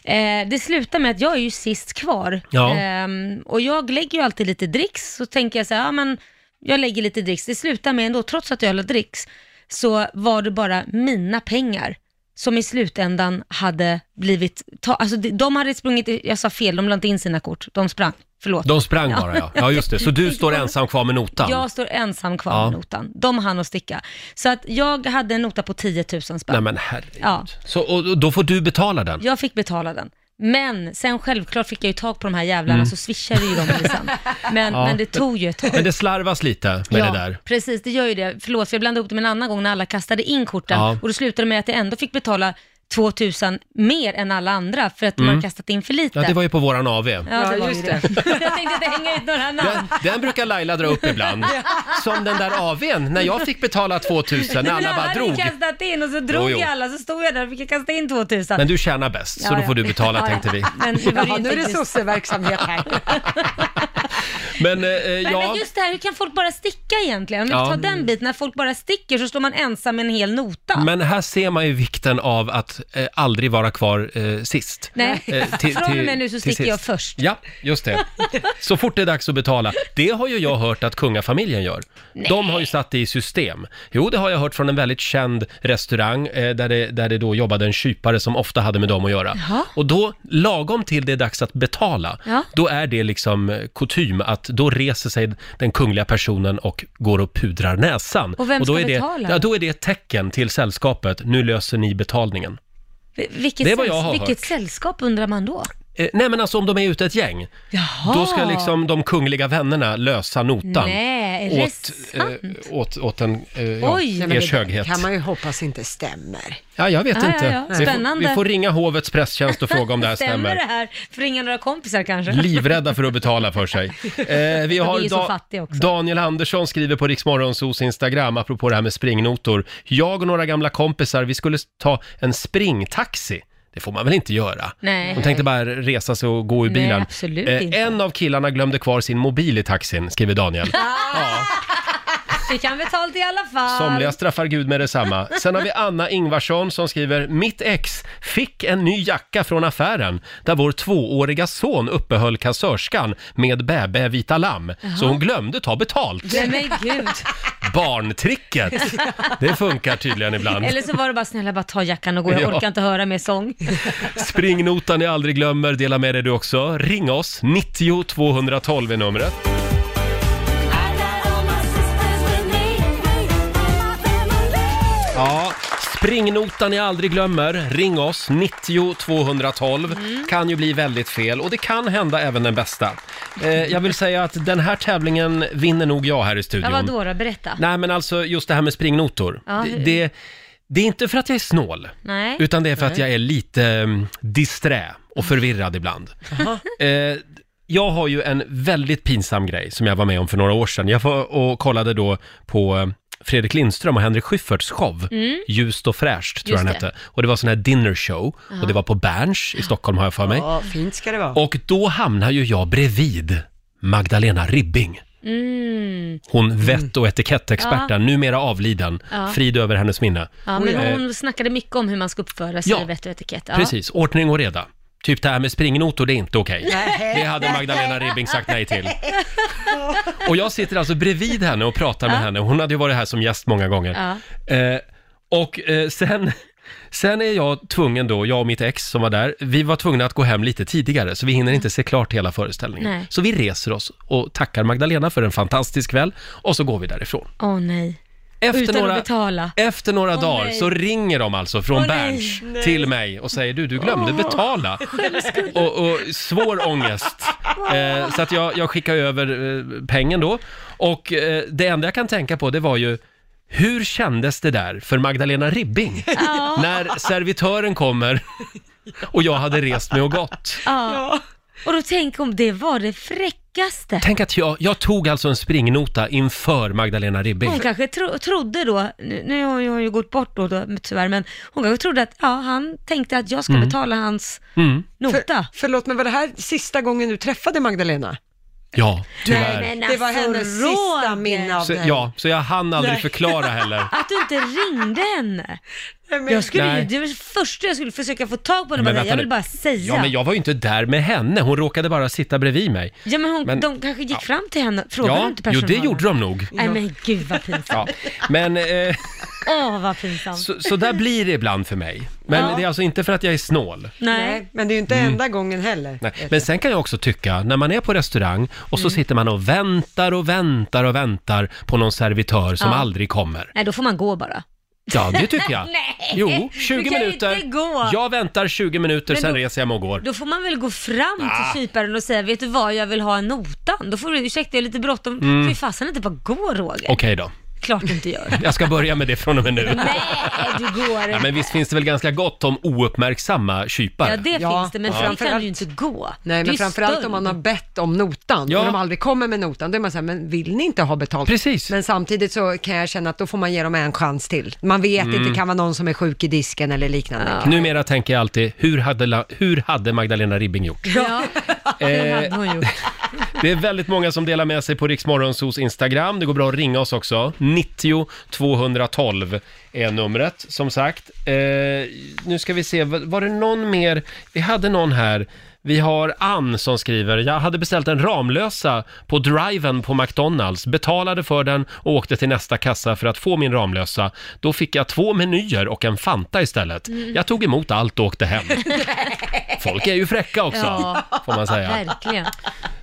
Eh, det slutar med att jag är ju sist kvar. Ja. Ehm, och jag lägger ju alltid lite dricks, så tänker jag så här, ja men jag lägger lite dricks. Det slutar med ändå, trots att jag la dricks, så var det bara mina pengar som i slutändan hade blivit, ta, alltså de- de hade sprungit, jag sa fel, de la inte in sina kort, de sprang, förlåt. De sprang bara ja. Ja just det, (laughs) så du står ensam kvar med notan? Jag står ensam kvar Ja. med notan. De hann att sticka. Så att jag hade en nota på 10 000 spänn. Nej men herregud. ja, Så, och och då får du betala den? jag fick betala den. Men sen självklart fick jag ju tag på de här jävlarna Mm. så swishade ju de mig sen. Men, Ja. men det tog ju ett tag. Men det slarvas lite med ja, det där? precis, det gör ju det. Förlåt, för jag blandade ihop det med en annan gång när alla kastade in korten Ja. och då slutade det med att jag ändå fick betala 2000 mer än alla andra för att de Mm. hade kastat in för lite. Ja, det var ju på våran AV. Ja, det var just det. (laughs) jag tänkte inte hänga ut några namn. Den, den brukar Laila dra upp ibland. Som den där AWn, när jag fick betala 2000 när alla bara hade drog. kastat in och så drog Jo, jo. jag alla, så stod jag där och fick kasta in 2000. Men du tjänar bäst, så Ja, då ja. får du betala Ja, ja. tänkte vi. Men nu, var det ju Ja, nu inte är det just- sosseverksamhet (laughs) här. Men, eh, Men, ja. men just det här, hur kan folk bara sticka egentligen? Om vi Ja. tar den biten, när folk bara sticker så står man ensam med en hel nota. Men här ser man ju vikten av att eh, aldrig vara kvar eh, sist. Nej, Eh, till- från och till- med nu så till sticker sist. jag först. Ja, just det. Så fort det är dags att betala. Det har ju jag hört att kungafamiljen gör. Nej. De har ju satt det i system. Jo, det har jag hört från en väldigt känd restaurang eh, där det, där det då jobbade en kypare som ofta hade med dem att göra. Jaha. Och då, lagom till det är dags att betala, Ja. då är det liksom eh, kutym att då reser sig den kungliga personen och går och pudrar näsan. Och vem då ska är det, betala? Ja, då är det ett tecken till sällskapet, nu löser ni betalningen. Vi- Vilket, Det är vad säll- jag har vilket hört. sällskap undrar man då? Eh, nej men alltså om de är ute ett gäng, Jaha. då ska liksom de kungliga vännerna lösa notan. Nej, är det åt, sant? eh, åt, åt en, eh, ja, Oj. Nej, men ers det höghet. kan man ju hoppas inte stämmer. Ja, jag vet Ja, inte. ja, ja. Vi, får, Spännande. vi får ringa hovets presstjänst och fråga om det (laughs) här stämmer stämmer. det här? För inga några kompisar kanske? (laughs) Livrädda för att betala för sig. Eh, vi De har är ju så fattiga också. Daniel Andersson skriver på Riksmorgonsos Instagram, apropå det här med springnotor. Jag och några gamla kompisar, vi skulle ta en springtaxi. det får man väl inte göra. Nej. Hon tänkte bara resa sig och gå ur Nej, bilen. Eh, absolut inte. En av killarna glömde kvar sin mobil i taxin, (laughs) skriver Daniel. Vi kan betalt i alla fall. Somliga straffar Gud med detsamma. Sen har vi Anna Ingvarsson som skriver “Mitt ex fick en ny jacka från affären där vår tvååriga son uppehöll kassörskan med bäbä vita lamm, så Jaha. hon glömde ta betalt. Nej men gud. Barntricket! Det funkar tydligen ibland. Eller så var det bara snälla bara ta jackan och gå, jag Ja. orkar inte höra mer sång. Springnotan jag aldrig glömmer, dela med dig du också. Ring oss, 90 212 är numret. Ja, springnotan jag aldrig glömmer, ring oss, 90 212. Mm. Kan ju bli väldigt fel och det kan hända även den bästa. Eh, jag vill säga att den här tävlingen vinner nog jag här i Ja, studion. vadå då, berätta. Nej men alltså just det här med springnotor. Ja, Det- hur- det, det är inte för att jag är snål. Nej. Utan det är för att Nej. jag är lite mm, disträ och förvirrad ibland. Eh, jag har ju en väldigt pinsam grej som jag var med om för några år sedan. Jag var och kollade då på eh, Fredrik Lindström och Henrik Schyfferts show, Mm. Ljust och fräscht tror jag Just den det. hette. Och det var sån här dinner show Ja. och det var på Berns i Stockholm har jag för mig. Ja, fint ska det vara. Och då hamnar ju jag bredvid Magdalena Ribbing. Mm. Hon vett och etikettexperten, Ja. numera avliden. Ja. Frid över hennes minne. Ja, men Eh, hon snackade mycket om hur man ska uppföra sig Ja. i vett och etikett. Ja. Precis, ordning och reda. Typ det här med springnotor, det är inte okej. Nej. Det hade Magdalena Ribbing sagt (laughs) nej till. Och jag sitter alltså bredvid henne och pratar med Ja. henne. Hon hade ju varit här som gäst många gånger. Ja. Eh, och eh, sen, sen är jag tvungen då, jag och mitt ex som var där, vi var tvungna att gå hem lite tidigare så vi hinner inte se klart hela föreställningen. Nej. Så vi reser oss och tackar Magdalena för en fantastisk kväll och så går vi därifrån. Åh nej. Efter Utan några- att betala. Efter några Åh, dagar nej. så ringer de alltså från Åh, nej. Berns Nej. till mig och säger du, du glömde Åh, betala. skämskudde. Och, och svår ångest. Eh, så att jag, jag skickar över eh, pengen då. Och eh, det enda jag kan tänka på det var ju hur kändes det där för Magdalena Ribbing? Ja. (laughs) När servitören kommer och jag hade rest mig och gått. Ja. Och då tänk om det var det fräckaste. Tänk att jag, jag tog alltså en springnota inför Magdalena Ribbing. Hon kanske tro, trodde då, nu nu har ju hon ju gått bort då, då tyvärr, men hon kanske trodde att ja, han tänkte att jag ska Mm. betala hans Mm. nota. Förlåt, men var det här sista gången du träffade Magdalena? Ja, tyvärr. det var hennes sista minne av Så, dig. ja, så jag hann aldrig Nej. förklara heller. Att du inte ringde henne. men- Jag skulle ju, Nej. det var det första jag skulle försöka få tag på henne, Men bara, vänta jag nu. vill bara säga. Ja, men jag var ju inte där med henne. Hon råkade bara sitta bredvid mig. Ja, men hon, Men- de kanske gick fram till henne, frågade ja, inte jo, personalen? det gjorde de nog. Nej men gud vad pinsamt. Ja. (laughs) Men eh, Åh vad pinsamt. så, så där blir det ibland för mig. Men Ja. det är alltså inte för att jag är snål. Nej. men det är ju inte Mm. enda gången heller. Nej. Men sen kan jag också tycka, när man är på restaurang och så Mm. sitter man och väntar och väntar och väntar på någon servitör som Ja. aldrig kommer. Nej, då får man gå bara. Ja, det tycker (laughs) jag. Nej, Jo, du 20 kan ju minuter. Inte gå. Jag väntar 20 minuter, Men sen då- reser jag mig och går. Då får man väl gå fram Ah. till kyparen och säga, vet du vad, jag vill ha en notan. Då får du, ursäkta jag har lite bråttom. Mm. Mm. Fy fasen inte bara gå Roger. Okej då. Klart du inte (laughs) gör. Jag ska börja med det från och med nu. Nej, du går Ja, inte. men visst finns det väl ganska gott om ouppmärksamma kypare? Ja, det finns det, men Ja. framför kan du ju inte gå. Nej, Det är men ju framförallt stöld. om man har bett om notan Ja. och de aldrig kommer med notan, då är man så här, men vill ni inte ha betalt? Precis. Men samtidigt så kan jag känna att då får man ge dem en chans till. Man vet Mm. inte, det kan vara någon som är sjuk i disken eller liknande. Numera tänker jag alltid, hur hade, la, hur hade Magdalena Ribbing gjort? Ja, det Eh, hade hon gjort. Det är väldigt många som delar med sig på Riksmorgonsos Instagram. Det går bra att ringa oss också. 90 212 är numret, som sagt. Eh, nu ska vi se, var var det någon mer? Vi hade någon här. Vi har Ann som skriver, jag hade beställt en Ramlösa på driven på McDonalds, betalade för den och åkte till nästa kassa för att få min Ramlösa. Då fick jag två menyer och en Fanta istället. Mm. Jag tog emot allt och åkte hem. Folk är ju fräcka också, får man säga. Verkligen.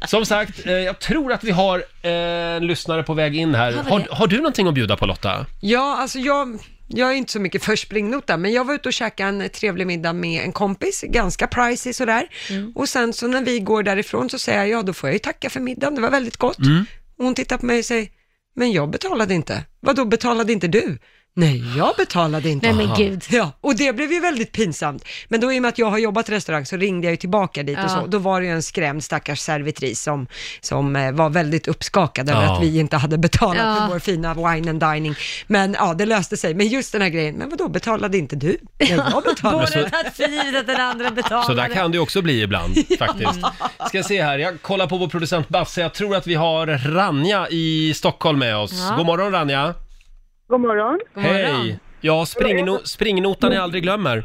Som sagt, eh, jag tror att vi har eh, en lyssnare på väg in här. Har vi Har, det? har du någonting att bjuda på Lotta? Ja, alltså jag, jag är inte så mycket för springnota, men jag var ute och käkade en trevlig middag med en kompis, ganska pricey sådär. Mm. Och sen så när vi går därifrån så säger jag, ja då får jag ju tacka för middagen, det var Mm. väldigt gott. Och hon tittar på mig och säger, men jag betalade inte. Vad då betalade inte du? Nej, jag betalade inte. Nej, men Aha. gud. Ja, och det blev ju väldigt pinsamt. Men då i och med att jag har jobbat i restaurang så ringde jag ju tillbaka dit Ja. och så. Då var det ju en skrämd stackars servitris som, som eh, var väldigt uppskakad över Ja. att vi inte hade betalat Ja. för vår fina wine and dining. Men ja, det löste sig. Men just den här grejen, men vadå, betalade inte du? Nej, jag betalade. Båda tagit för givet att den andra betalade. Så där kan det ju också bli (laughs) ibland faktiskt. Ska se här, jag kollar på vår producent Basse. Jag tror att vi har Ranja i Stockholm med oss. Ja. God morgon Ranja! God morgon. Hej! Ja, springno springnotan jag aldrig glömmer.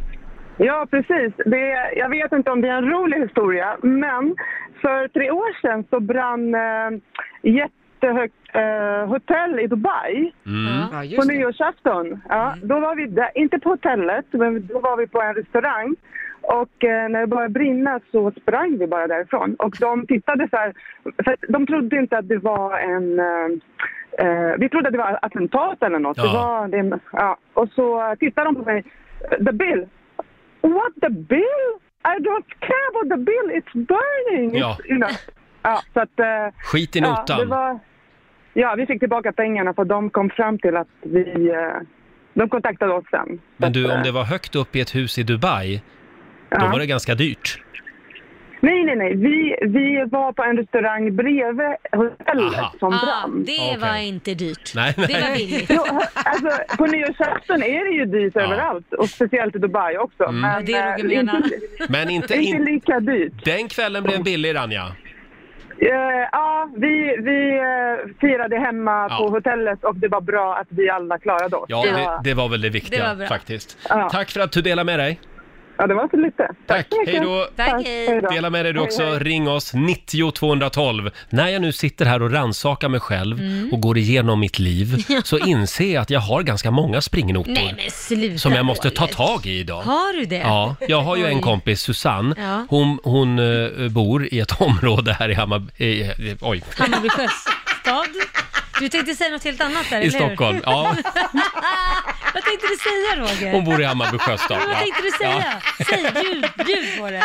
Ja, precis. Det är, jag vet inte om det är en rolig historia, men för tre år sedan så brann eh, jättehögt eh, hotell i Dubai Mm. Ja, just på (laughs) det. Mm. nyårsafton. Ja, Då var vi där, inte på hotellet, men då var vi på en restaurang. Och eh, när det började brinna så sprang vi bara därifrån. Och de tittade så här, för att de trodde inte att det var en... Eh, eh, vi trodde att det var attentat eller något. Det Ja. var, det, ja. Och så tittade de på mig. The bill, What the bill? I don't care about the bill, it's burning! Ja. It's, you know. ja, så att, eh, Skit i Ja, notan. det var, ja, vi fick tillbaka pengarna för de kom fram till att vi... eh, De kontaktade oss sen. Men du, om det var högt upp i ett hus i Dubai, då Ja. var det ganska dyrt. Nej, nej, nej. Vi, vi var på en restaurang bredvid hotellet Aha. som Ah, brann. det var inte dyrt. Nej, Det var billigt. Jo, alltså, på nyårsafton är det ju dyrt Ja. överallt och speciellt i Dubai också. Mm. Men, Ja, det eh, Roger (laughs) menar. Inte, Men inte... inte In... lika dyrt. Den kvällen blev billig Ranja. Eh, Ja, vi, vi eh, firade hemma Ja. på hotellet och det var bra att vi alla klarade oss. Ja, det, det var väl det Det viktiga var bra. faktiskt. Ja. Tack för att du delade med dig. Ja, det var så lite. Tack, så mycket. hej då. Tack, hej då. Dela med dig du också. Hej, hej. Ring oss, 90 212. När jag nu sitter här och rannsakar mig själv Mm. och går igenom mitt (laughs) liv så inser jag att jag har ganska många Mm. springnotor Nej men sluta som jag måste ta Roger. tag i idag. Har du det? Ja, jag har ju en Oj. kompis, Susanne. Ja. Hon, hon eh, bor i ett (laughs) område här i Hammarby... eh, eh, oj. Hammarby sjöstad. Du tänkte säga något helt annat där, I eller hur? Stockholm, ja. (laughs) Vad tänkte du säga Roger? Hon bor i Hammarby sjöstad. Ja, ja. Vad tänkte du säga? Säg, bjud, bjud på det.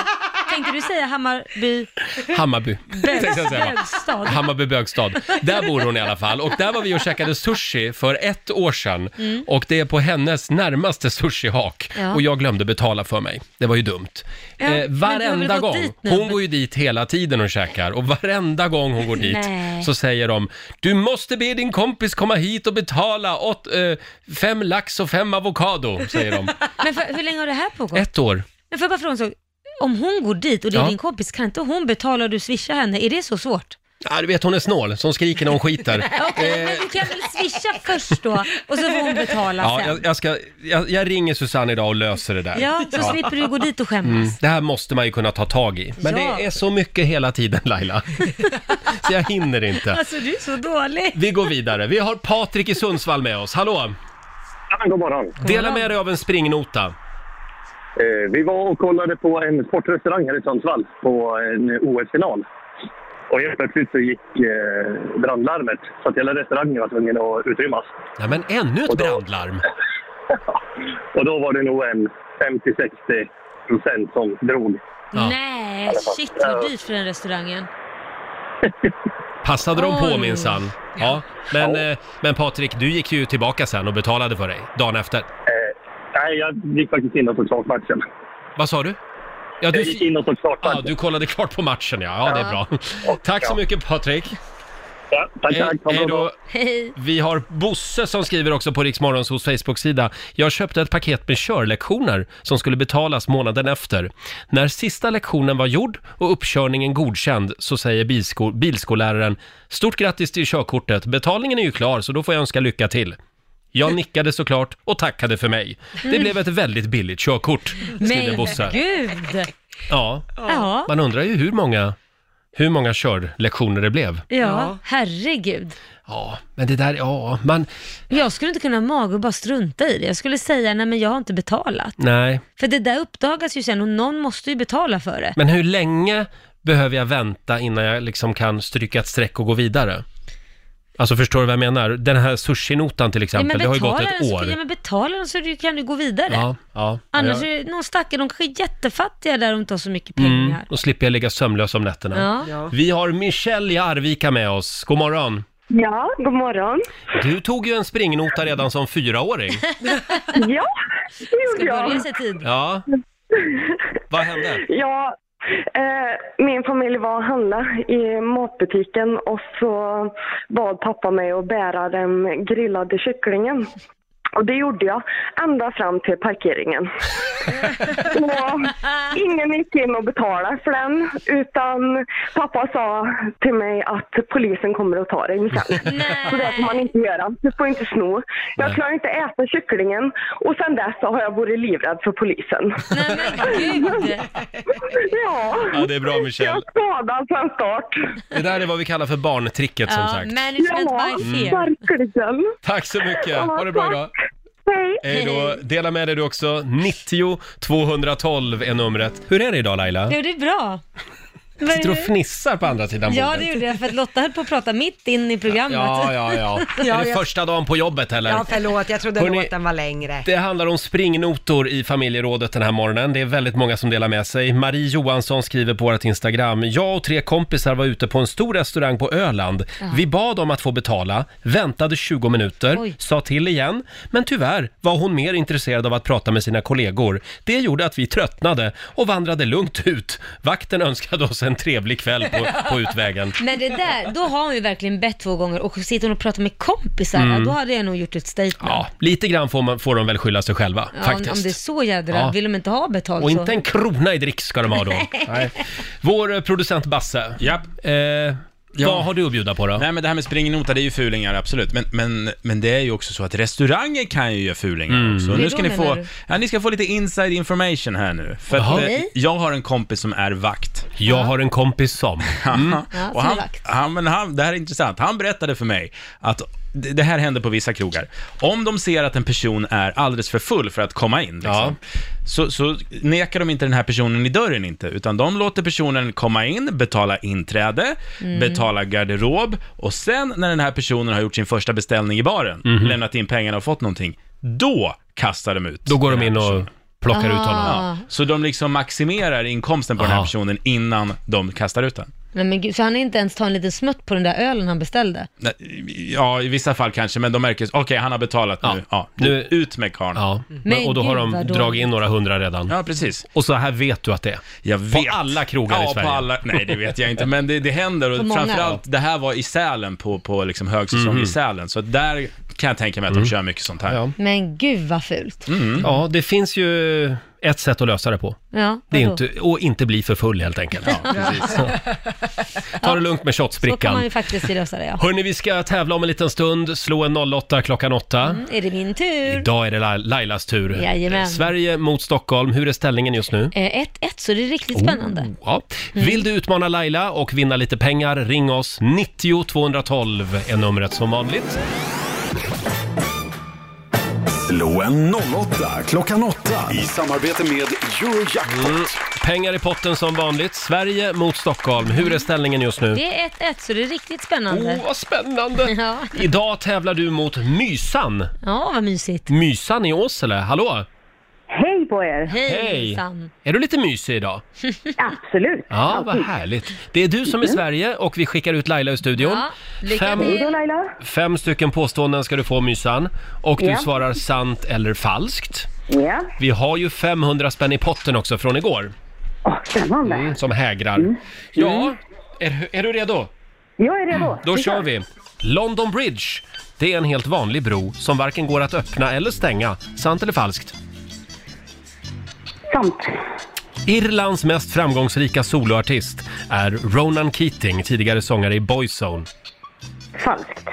Tänkte du säga Hammarby Ja. Hammarby. tänkte jag säga. bögstad? Hammarby Bögstad. Där bor hon i alla fall. Och där var vi och käkade sushi för ett år sedan. Mm. Och det är på hennes närmaste sushihak. Ja. Och jag glömde betala för mig. Det var ju dumt. Ja, men eh, du har väl varenda gått gång. dit nu? Hon går ju dit hela tiden och käkar. Och varenda gång hon går dit Nej. så säger de Du måste be din kompis komma hit och betala åt, eh, fem lax och fem avokado, (laughs) säger de. Men för, hur länge har det här pågått? Ett år. Men får jag bara fråga en sak? Om hon går dit och det är Ja. din kompis, kan inte hon betala och du swishar henne? Är det så svårt? Ja, du vet hon är snål, så hon skriker när (laughs) hon skiter. Okej, Eh. men du kan väl swisha först då och så får hon betala Ja, sen? jag, jag, ska, jag, jag ringer Susanne idag och löser det där. Ja, så slipper du gå dit och skämmas. Mm, det här måste man ju kunna ta tag i. Men Ja. det är så mycket hela tiden (laughs) Laila. så jag hinner inte. Alltså du är så dålig. Vi går vidare. Vi har Patrik i Sundsvall med oss. Hallå! God morgon. Dela med dig av en springnota. Eh, vi var och kollade på en sportrestaurang här i Sundsvall på en OS-final. Och helt plötsligt så gick eh, brandlarmet så att hela restaurangen var tvungen att utrymmas. Ja, men ännu ett brandlarm! (laughs) Och då var det nog en 50-60 procent som drog. Nej, shit vad dyrt för den restaurangen. Passade de på Oj. minsann. Ja, men, eh, men Patrik, du gick ju tillbaka sen och betalade för dig dagen efter. Eh, nej, jag gick faktiskt in och såg klart matchen. Vad sa du? Ja, du Jag gick in och såg klart Ja, du kollade klart på matchen ja. Ja, det är bra. Tack så mycket Patrik. Ja, tack, Hej- tack. Ha det Eh, Hej bra. då. Hej. Vi har Bosse som skriver också på Riksmorgonsos Facebook-sida. Jag köpte ett paket med körlektioner som skulle betalas månaden efter. När sista lektionen var gjord och uppkörningen godkänd så säger bilsko bilskolläraren Stort grattis till körkortet. Betalningen är ju klar så då får jag önska lycka till. Jag nickade såklart och tackade för mig. Det blev ett väldigt billigt körkort, skriver Men Bosse. gud! Ja, Ja. man undrar ju hur många, hur många körlektioner det blev. Ja, herregud. Ja, men det där, ja, man... Jag skulle inte kunna ha mage och bara strunta i det. Jag skulle säga, nej men jag har inte betalat. Nej. För det där uppdagas ju sen och någon måste ju betala för det. Men hur länge behöver jag vänta innan jag liksom kan stryka ett streck och gå vidare? Alltså förstår du vad jag menar? Den här sushinotan till Nej, exempel, men det har ju betala gått den ett så- år. Ja, men betala den så du kan du gå vidare. ja, ja. Annars Ja, jag- är det någon stackare, de kanske är jättefattiga där och inte har så mycket Mm, pengar. då slipper jag ligga sömnlös om nätterna. Ja. Vi har Michelle i Arvika med oss. God morgon! Ja, god morgon. Du tog ju en springnota redan som fyraåring. ja, det gjorde jag. börja i sig tid. Ja, vad hände? Ja, eh, min familj var och handlade i matbutiken och så bad pappa mig att bära den grillade kycklingen. Och det gjorde jag, ända fram till parkeringen. och ingen gick in och betalade för den, utan pappa sa till mig att polisen kommer och tar den sen. Så det får man inte göra, du får inte sno. Jag klarar inte äta kycklingen och sen dess så har jag varit livrädd för polisen. ja. Ja, det är bra Michelle. Skadad från start. Det där är vad vi kallar för barntricket som sagt. Management by fear. Ja, verkligen. Tack så mycket. Ha det bra idag. Hej då. Dela med dig du också. 90 212 är numret. Hur är det idag Laila? Jo, det är bra. (laughs) Sitter och fnissar på andra sidan Ja, bordet. det gjorde jag för att Lotta höll på att prata mitt in i programmet. Ja, ja, (laughs) ja. Är det första dagen på jobbet eller? Ja, förlåt, jag (laughs) trodde Hörrni, låten var längre. Det handlar om springnotor i familjerådet den här morgonen. Det är väldigt många som delar med sig. Marie Johansson skriver på vårt Instagram. Jag och tre kompisar var ute på en stor restaurang på Öland. Ja. Vi bad om att få betala, väntade 20 minuter, sa till igen. Men tyvärr var hon mer intresserad av att prata med sina kollegor. Det gjorde att vi tröttnade och vandrade lugnt ut. Vakten önskade oss en trevlig kväll på, (laughs) på utvägen. Men det där, då har hon ju verkligen bett två gånger och sitter hon och pratar med kompisar, Mm. ja, då hade jag nog gjort ett statement. Ja, lite grann får, man, får de väl skylla sig själva, Ja, om, faktiskt. om det är så jädra, Ja. vill de inte ha betalt Och så. inte en krona i drick ska (laughs) de ha då. Nej. Nej. Vår eh, producent Basse. Japp. Eh, Vad har du att bjuda på då? Nej men det här med springnota, det är ju fulingar absolut. Men, men, men det är ju också så att restauranger kan ju göra fulingar Mm. också. Och Hur Nu då, ska ni menar få, du? ja, ni ska få lite inside information här nu. För Jaha. att, eh, Okej. jag har en kompis som är vakt. Jag har en kompis (laughs) som. Mm. Ja, som Och han, är vakt. han, men han, det här är intressant. Han berättade för mig att det det här händer på vissa krogar. Om de ser att en person är alldeles för full för att komma in, liksom, så, så nekar de inte den här personen i dörren inte, utan de låter personen komma in, betala inträde, Mm. betala garderob och sen när den här personen har gjort sin första beställning i baren, Mhm. lämnat in pengarna och fått någonting, då kastar de ut Då går de in och plockar ut honom. Ja, så de liksom maximerar inkomsten på den här personen innan de kastar ut den. Nej, men gud, så han är inte ens ta en liten smutt på den där ölen han beställde? Nej, Ja, i vissa fall kanske, men de märker, okej, han har betalat nu, ja, nu ut med karln. Men och då har gud, de vad dåligt. dragit in några hundra redan. Ja, precis. Och så här vet du att det är. Jag vet. På alla krogar i ja, Sverige. På alla, nej, det vet jag inte, men det, det händer På och många. framförallt, det här var i Sälen, på, på liksom högsäsong Mhm. i Sälen, så där kan jag tänka mig Mm. att de kör mycket sånt här. Men gud vad fult. Ja, det finns ju ett sätt att lösa det på. Ja, Det är vadå? inte, och inte bli för full helt enkelt. Så. Ta det lugnt med Så kan man ju shotsbrickan. faktiskt lösa det ja. (laughs) Hörni, vi ska tävla om en liten stund. Slå en 08 klockan 8. Mm, är det min tur? Idag är det Lai- Lailas tur. Jajamän. Eh, Sverige mot Stockholm. Hur är ställningen just nu? Eh, 1-1, så det är Oh. riktigt spännande. Ja. Mm. Vill du utmana Laila och vinna lite pengar, ring oss. 90 212 är numret som vanligt. Slå en 08 klockan 8 i samarbete med Eurojackpot. Mm. Pengar i potten som vanligt. Sverige mot Stockholm. Hur är ställningen just nu? Det är 1-1, så det är riktigt spännande. Åh, vad spännande! ja. Idag tävlar du mot Mysan. ja, vad mysigt. Mysan i Åsele, hallå! Hej på er! Hej! Är du lite mysig idag? (laughs) Absolut! Ja, vad härligt. Det är du som Mm. är Sverige och vi skickar ut Laila ur studion. Ja, lycka Fem- till. Hej då Laila! Fem stycken påståenden ska du få Mysan och du Ja. svarar sant eller falskt. Ja, Vi har ju 500 spänn i potten också från igår. spännande. Mm. Mm, som hägrar. Ja, är, är du redo? jag är redo. Då kör vi! London Bridge, det är en helt vanlig bro som varken går att öppna eller stänga. Sant eller falskt? Sant. Irlands mest framgångsrika soloartist är Ronan Keating, tidigare sångare i Boyzone. Falskt.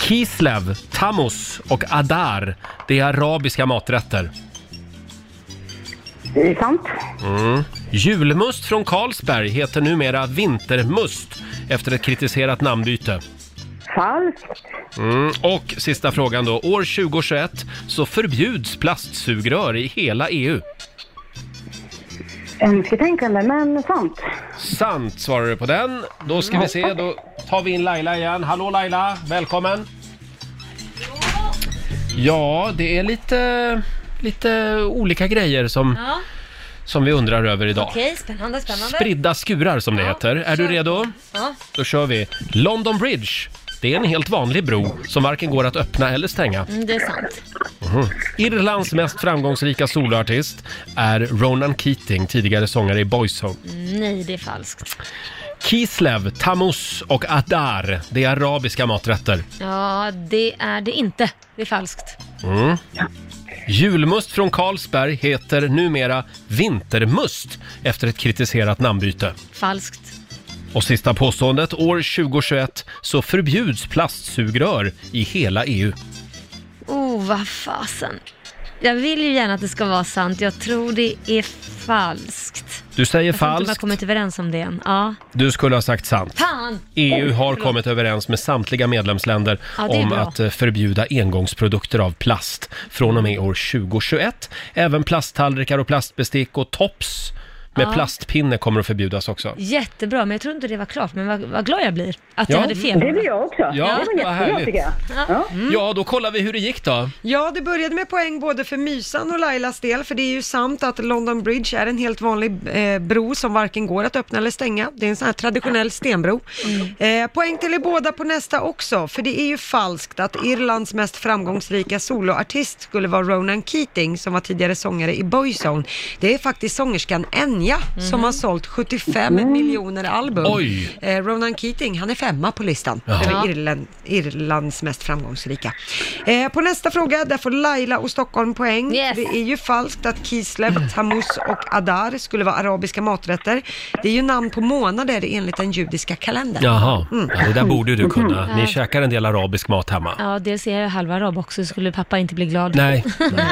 Kislev, Tamus och Adar, det är arabiska maträtter. Det är sant. Mm. Julmust från Carlsberg heter numera vintermust efter ett kritiserat namnbyte. Falskt. Mm. Och sista frågan då. År 2021 så förbjuds plastsugrör i hela E EU. Önsketänkande, men sant. Sant svarar du på den. Då ska vi se, då tar vi in Laila igen. Hallå Laila, välkommen! Ja, det är lite, lite olika grejer som, (laughs) Ja, som vi undrar över idag. okej, spännande, spännande. Spridda skurar som det heter. Är du redo? Ja. Då kör vi. London Bridge. Det är en helt vanlig bro som varken går att öppna eller stänga. Mm, det är sant. Mhm. Irlands mest framgångsrika soloartist är Ronan Keating, tidigare sångare i Boyzone. Nej, det är falskt. Kislev, Tammuz och Adar, det är arabiska maträtter. Ja, det är det inte. Det är falskt. Mm. Julmust från Carlsberg heter numera vintermust efter ett kritiserat namnbyte. Falskt. Och sista påståendet, år 2021 så förbjuds plastsugrör i hela E EU. Oh, vad fasen. Jag vill ju gärna att det ska vara sant. Jag tror det är falskt. Du säger Jag tror inte man har falskt, kommit överens om det än. Ja. du skulle ha sagt sant. Fan! EU Oj, E har förlåt. kommit överens med samtliga medlemsländer Ja, det är om bra. att eh, förbjuda engångsprodukter av plast från och med år 2021. Även plasttallrikar och plastbestick och tops med Ja. plastpinne kommer att förbjudas också. Jättebra, men jag tror inte det var klart. Men vad, vad glad jag blir att Ja. jag hade fel. Det blir jag också. Ja, Det var vad jättebra, härligt. tycker jag. Ja. Ja, då kollar vi hur det gick då. Ja, det började med poäng både för Mysan och Lailas del, för det är ju sant att London Bridge är en helt vanlig eh, bro som varken går att öppna eller stänga. Det är en sån här traditionell stenbro. Eh, poäng till er båda på nästa också, för det är ju falskt att Irlands mest framgångsrika soloartist skulle vara Ronan Keating, som var tidigare sångare i Boyzone. Det är faktiskt sångerskan Enya, som har sålt 75 Mm. miljoner album. Oj. Eh, Ronan Keating, han är femma på listan Jaha. över Irland, Irlands mest framgångsrika. Eh, på nästa fråga, där får Laila och Stockholm poäng. Det är ju falskt att Kislev, Tammuz och Adar skulle vara arabiska maträtter. Det är ju namn på månader enligt den judiska kalendern. Jaha, Mm. ja, det där borde du kunna. Ni Ja. käkar en del arabisk mat hemma. Ja, dels är jag halva arab också, så skulle pappa inte bli glad. Nej. (laughs)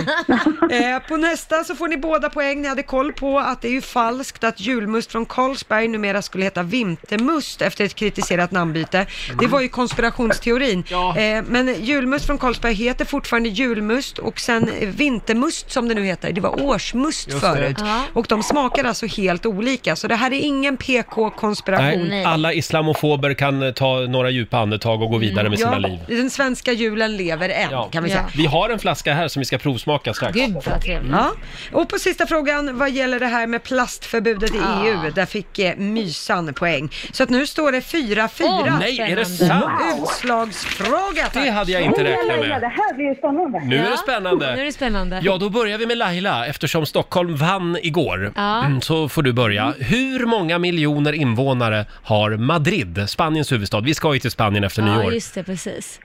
Eh, på nästa så får ni båda poäng. Ni hade koll på att det är ju falskt att julmust från Carlsberg numera skulle heta vintermust efter ett kritiserat namnbyte. Det var ju konspirationsteorin. Eh, men julmust från Carlsberg heter fortfarande julmust och sen eh, vintermust som det nu heter, det var årsmust Just det. förut. Ja. Och de smakar alltså helt olika. Så det här är ingen PK-konspiration. Nej, alla islamofober kan eh, ta några djupa andetag och gå vidare med sina Mm. ja, liv. Den svenska julen lever än, Ja. kan vi säga. Vi har en flaska här som vi ska provsmaka strax. Mm. Gud vad trevligt. Ja. Och på sista frågan, vad gäller det här med plastförbudet i Ah. EU? Där fick eh, Mysan poäng. Så att nu står det 4-4. Åh, nej, är det sant? Wow. Utslagsfråga tack. Mm. Det hade jag inte räknat med. här blir ju spännande. Nu är det spännande. Nu är det spännande. Ja, då börjar vi med Laila eftersom Stockholm vann igår. Ja. Mm, Så får du börja. Hur många miljoner invånare har Madrid, Spaniens huvudstad? Vi ska ju till Spanien efter ja, nyår. just det, precis.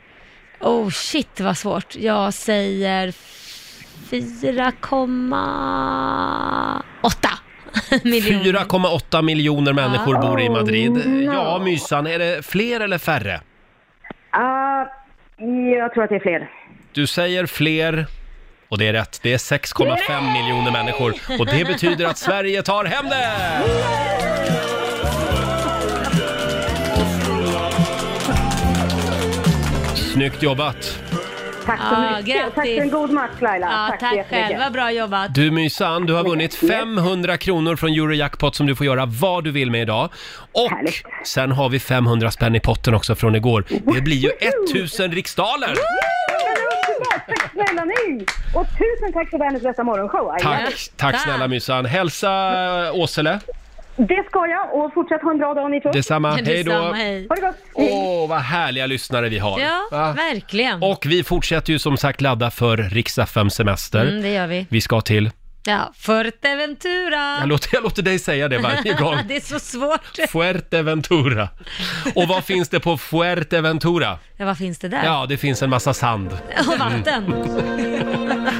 Oh shit vad svårt. Jag säger 4,8 miljoner. 4,8 miljoner människor Ja. bor i Madrid. Oh, no. Ja, Mysan, är det fler eller färre? Ah, jag tror att det är fler. Du säger fler och det är rätt. Det är 6,5 miljoner människor och det betyder att Sverige tar hem det! Snyggt jobbat! Tack så Ja, mycket. grattis. Tack för en god match Laila. Ja, så tack jättemycket. själva, bra jobbat. Du Mysan, du har vunnit 500 kronor från Eurojackpot som du får göra vad du vill med idag. Och sen har vi 500 spänn i potten också från igår. Det blir ju 1000 riksdaler! Tack snälla ni! Och tusen tack för världens bästa morgonshow. Tack, tack snälla Mysan. Hälsa eh, Åsele. Det ska jag och fortsätt ha en bra dag ni två. Detsamma. Hej då. Detsamma, hej. Ha det gott. Åh, vad härliga lyssnare vi har. Ja, Va? verkligen. Och vi fortsätter ju som sagt ladda för Riks-FM semester. Mm, det gör vi. Vi ska till... Ja, Fuerteventura. Jag låter, jag låter dig säga (laughs) det varje gång. det är så svårt. Fuerteventura. Och vad finns det på Fuerteventura? Ja, vad finns det där? Ja, det finns en massa sand. (laughs) Och vatten.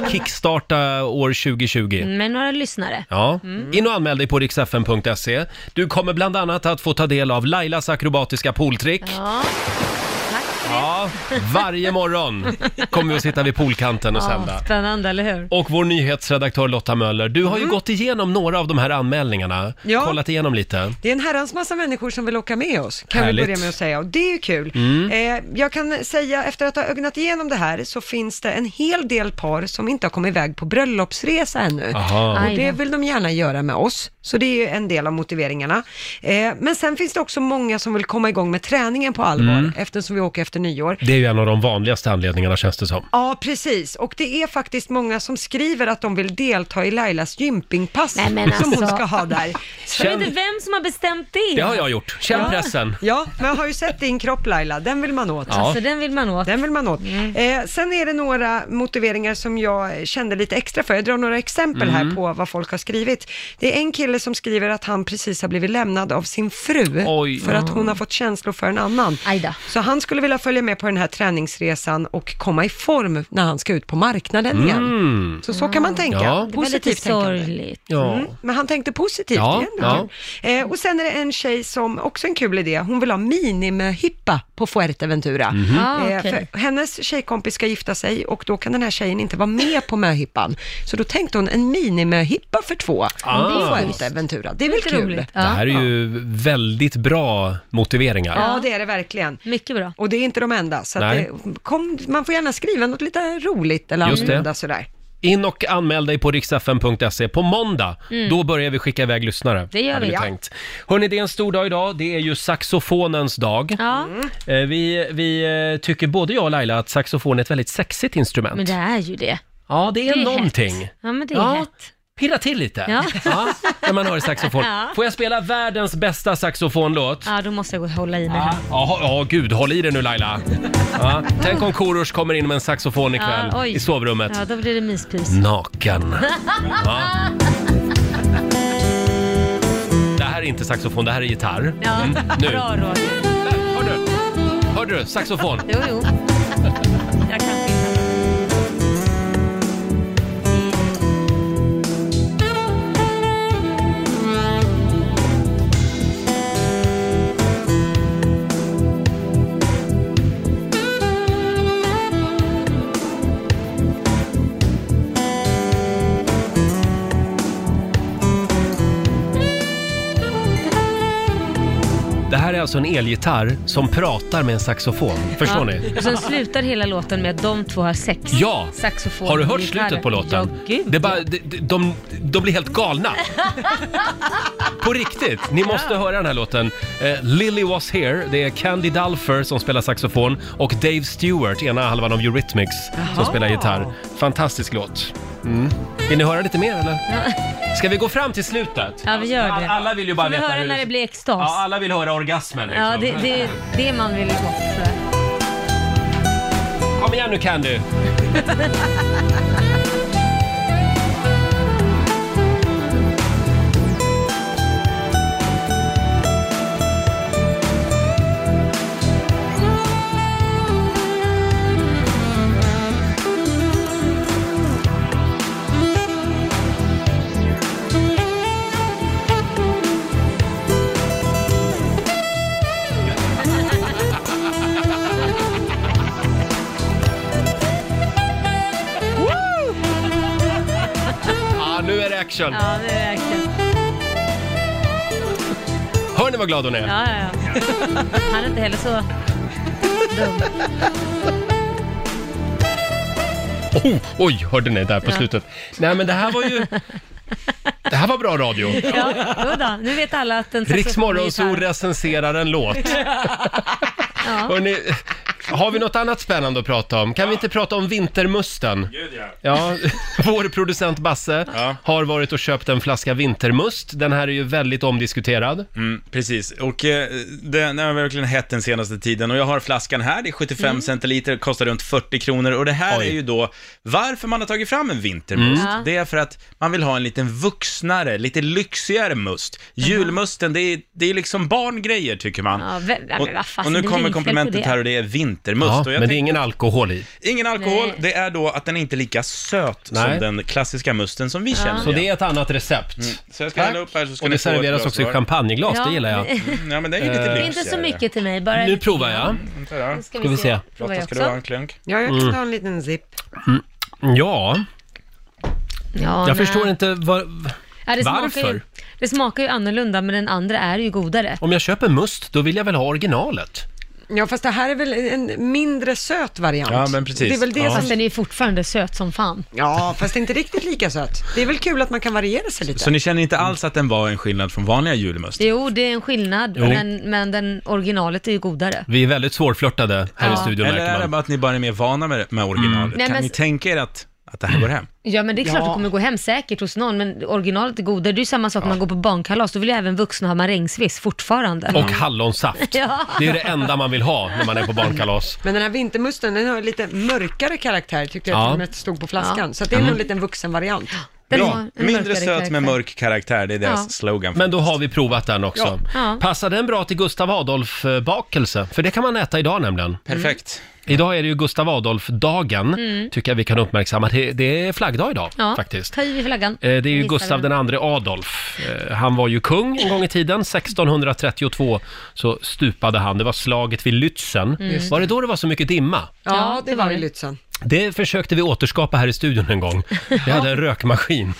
(laughs) Kickstarta år 2020. Mm. Med Mm, några lyssnare. Ja, in och anmäl dig på riksfn.se. Du kommer bland annat att få ta del av Lailas akrobatiska pooltrick. Ja. Ja, varje morgon kommer vi att sitta vid poolkanten och sända. Ja, spännande, eller hur? Och vår nyhetsredaktör Lotta Möller, du har ju gått igenom några av de här anmälningarna. Mm. Ja. Kollat igenom lite. Det är en herrans massa människor som vill åka med oss, kan Härligt. vi börja med att säga, och det är ju kul. Mm. Eh, jag kan säga, efter att ha ögnat igenom det här, så finns det en hel del par som inte har kommit iväg på bröllopsresa ännu. Aha. Och Aj det då. vill de gärna göra med oss, så det är ju en del av motiveringarna. Eh, men sen finns det också många som vill komma igång med träningen på allvar, Mm. eftersom vi åker efter efter nyår. Det är ju en av de vanligaste anledningarna känns det som. Ja, precis. Och det är faktiskt många som skriver att de vill delta i Lailas gympingpass Nej, men som hon alltså. ska (laughs) ha där. Jag vet Känn- inte vem som har bestämt det. Det har jag gjort. Känn Ja. pressen. Ja, men jag har ju sett din kropp Laila, den vill man åt. Ja. Alltså, den vill man åt. Mm. Den vill man åt. Eh, sen är det några motiveringar som jag kände lite extra för. Jag drar några exempel här Mm. på vad folk har skrivit. Det är en kille som skriver att han precis har blivit lämnad av sin fru Oj. för att Ja. hon har fått känslor för en annan. Så han skulle vilja följa med på den här träningsresan och komma i form när han ska ut på marknaden igen. Mm. Så så kan man tänka. Ja. Det var lite tänkande. sorgligt. Ja. Mm. Men han tänkte positivt Ja, igen. då. ja. Eh, och sen är det en tjej som, också en kul idé, hon vill ha minimihippa på Fuerteventura. Mhm. Ah, Eh, okej. för hennes tjejkompis ska gifta sig och då kan den här tjejen inte vara med på möhippan. Så då tänkte hon en minimöhippa för två Ah. på Fuerteventura. Det är väl Lite kul? roligt. Det här är ju väldigt bra motiveringar. Ja, det är det verkligen. Mycket bra. Och det är inte de enda. Så att Nej. det, kom, man får gärna skriva något lite roligt eller Just det. annorlunda sådär. In och anmäl dig på riksfn.se. På måndag, Mm. då börjar vi skicka iväg lyssnare. Det gör hade vi, ja. Tänkt. Hörrni, det är en stor dag idag. Det är ju saxofonens dag. Ja. Eh, Vi, vi eh, tycker både jag och Laila att saxofon är ett väldigt sexigt instrument. Men det är ju det. Ja, det är, hett. någonting. Ja, men det är Ja. hett. Pirra till lite Ja. Ja, (laughs) när man hör saxofon. Ja. Får jag spela världens bästa saxofonlåt? Ja, då måste jag gå och hålla i mig här. Ja, ja, gud, håll i dig nu Laila. Ja. Tänk om Korosh kommer in med en saxofon ikväll Ja, oj. i sovrummet. Ja, då blir det myspys. Naken. (laughs) Ja. Det här är inte saxofon, det här är gitarr. Ja, (laughs) Mm, Nu. bra Roger. Hör du? Saxofon. Jo, jo. Jag kan finna. Det här är alltså en elgitarr som pratar med en saxofon. Förstår ja. ni? Och sen slutar hela låten med att de två har sex. Ja! Saxofon Har du och hört gitarr. slutet på låten? Ja, gud. det är bara, de, de, de blir helt galna. (laughs) På riktigt! Ni måste höra den här låten. Eh, Lily was here. Det är Candy Dulfer som spelar saxofon och Dave Stewart, ena halvan av Eurythmics, som Jaha. spelar gitarr. Fantastisk låt. Mm. Vill ni höra lite mer eller? Ska vi gå fram till slutet? Ja, vi gör det. Alla vill ju bara Får vi veta höra hur- när det blir extas. Ja, alla vill höra orgasmen liksom. Ja, det, det är det man vill ha. Kom igen nu Candy! Ja, nu är det action! Ja, det är verkligen. Hör ni vad glad hon är? Ja, ja, ja. Han är inte heller så dum. Oh, oj, hörde ni där på Ja. slutet? Nej men det här (laughs) var ju... Det här var bra radio. Ja, jodå, nu vet alla att en Riks saxofon är Morgonzoo recenserar en låt. Hörrni, har vi något annat spännande att prata om? Kan vi inte prata om vintermusten? Gud, ja. Ja, (laughs) vår producent Basse har varit och köpt en flaska vintermust. Den här är ju väldigt omdiskuterad. Mm, precis, och eh, den har verkligen hett den senaste tiden och jag har flaskan här, det är 75 Mm. centiliter, kostar runt 40 kronor och det här är ju då varför man har tagit fram en vintermust. Mm. Ja. Det är för att man vill ha en liten vuxnare, lite lyxigare must. Julmusten, det är, det är liksom barngrejer tycker man. Ja, vem- ja, men och, vad fasen, det och nu är väl kommer inget fel på komplementet det. här och det är vintermust. Ja, och jag men det är ingen alkohol i. Ingen alkohol, Nej. det är då att den är inte lika söt Nej. som den klassiska musten som vi Ja. känner Så igen. Mm. det är ett annat recept. Så jag ska Tack. hälla upp här så ska och ni det få ett serveras glas också i var. champagneglas, det gillar jag. (laughs) Mm, ja, men det (laughs) är ju lite Eh, lyxigare. Inte så mycket till mig, bara Nu provar jag. Ska Ska vi se. Provar Lotta, jag ska du ha en också. klunk? Ja, jag kan Mm. ta en liten zipp. Ja, Ja, jag nej. förstår inte var... Ja, det smakar varför. Ju, det smakar ju annorlunda, men den andra är ju godare. Om jag köper must, då vill jag väl ha originalet? Ja, fast det här är väl en mindre söt variant. Ja, men precis. Det är väl det Ja. som... Fast den är fortfarande söt som fan. Ja, fast inte riktigt lika söt. Det är väl kul att man kan variera sig lite. Så ni känner inte alls att den var en skillnad från vanliga julmust? Jo, det är en skillnad, Jo. men, men den originalet är ju godare. Vi är väldigt svårflörtade här Ja. i studion Mm. Eller märker är det man. bara att ni bara är mer vana med, med originalet? Nej, kan men- ni tänka er att, att det här går hem? Ja, men det är klart Ja. det kommer gå hem säkert hos någon, men originalet är godare. Det är ju samma sak när man går på barnkalas, då vill ju även vuxna ha marängsviss fortfarande. Och hallonsaft. Ja. Det är det enda man vill ha när man är på barnkalas. Men den här vintermusten, den har lite mörkare karaktär tyckte Ja. jag till och med stod på flaskan. Så att det är Mm. nog lite en vuxenvariant. Bra. Mindre söt med mörk karaktär, det är deras Ja. slogan. Men då har vi provat den också. Ja. Ja. Passar den bra till Gustav Adolf-bakelse? För det kan man äta idag nämligen. Mm. Perfekt. Idag är det ju Gustav Adolf-dagen, Mm. tycker jag vi kan uppmärksamma. Det, det är flaggdag idag, Ja, faktiskt. ta i flaggan. Eh, Det är ju Gissar Gustav vi. den andre Adolf. Eh, Han var ju kung en gång i tiden. 1632 så stupade han. Det var slaget vid Lützen. Mm. Just Var det då det var så mycket dimma? Ja, det, var ju (laughs) Lützen. Det försökte vi återskapa här i studion en gång. Vi hade en rökmaskin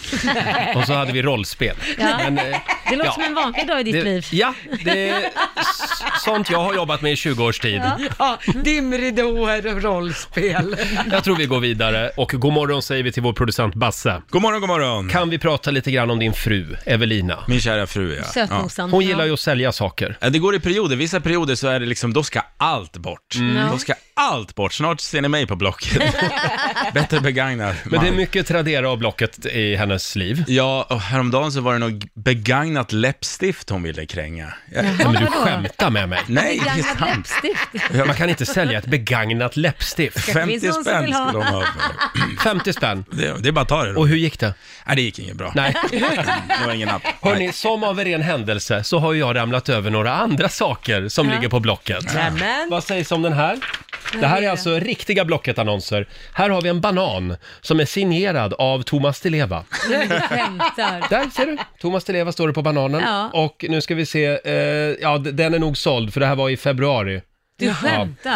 och så hade vi rollspel. Ja. Men, eh, Det låter ja. som en vanlig dag i ditt det, liv. Ja, det är s- sånt jag har jobbat med i 20 års tid. Ja, dimridåer och rollspel. Jag tror vi går vidare och god morgon säger vi till vår producent Basse. God morgon, god morgon. Kan vi prata lite grann om din fru, Evelina? Min kära fru, ja. Sötnosan. Hon gillar ju att sälja saker. Ja, Det går i perioder. Vissa perioder så är det liksom, då ska allt bort. Mm. Då ska allt bort. Snart ser ni mig (laughs) på Blocket. Bättre begagnad. Men det är mycket Tradera och Blocket i hennes liv. Ja, och häromdagen så var det nog begagnat läppstift hon ville kränga. Jag- Jaha, Men du vadå? skämtar med mig. Nej, det är Begagnad sant. läppstift. Man kan inte sälja ett begagnat läppstift. Det finns 50 någon som spänn vill ha. skulle de ha (laughs) 50 spänn. Det, det är bara att ta det. Och hur gick det? Nej, det gick inget bra. Nej. (laughs) Det var ingen app. Hörni, som av en ren händelse så har ju jag ramlat över några andra saker som Ja. ligger på Blocket. Nämen. Vad sägs om den här? Det här är alltså riktiga Blocket-annonser. Här har vi en banan som är signerad av Thomas Di Leva. (laughs) Nej, men Du skämtar. Där ser du, Thomas Di Leva står det på bananen. Ja. Och nu ska vi se, eh, ja d- den är nog såld för det här var i februari. Du Ja. skämtar.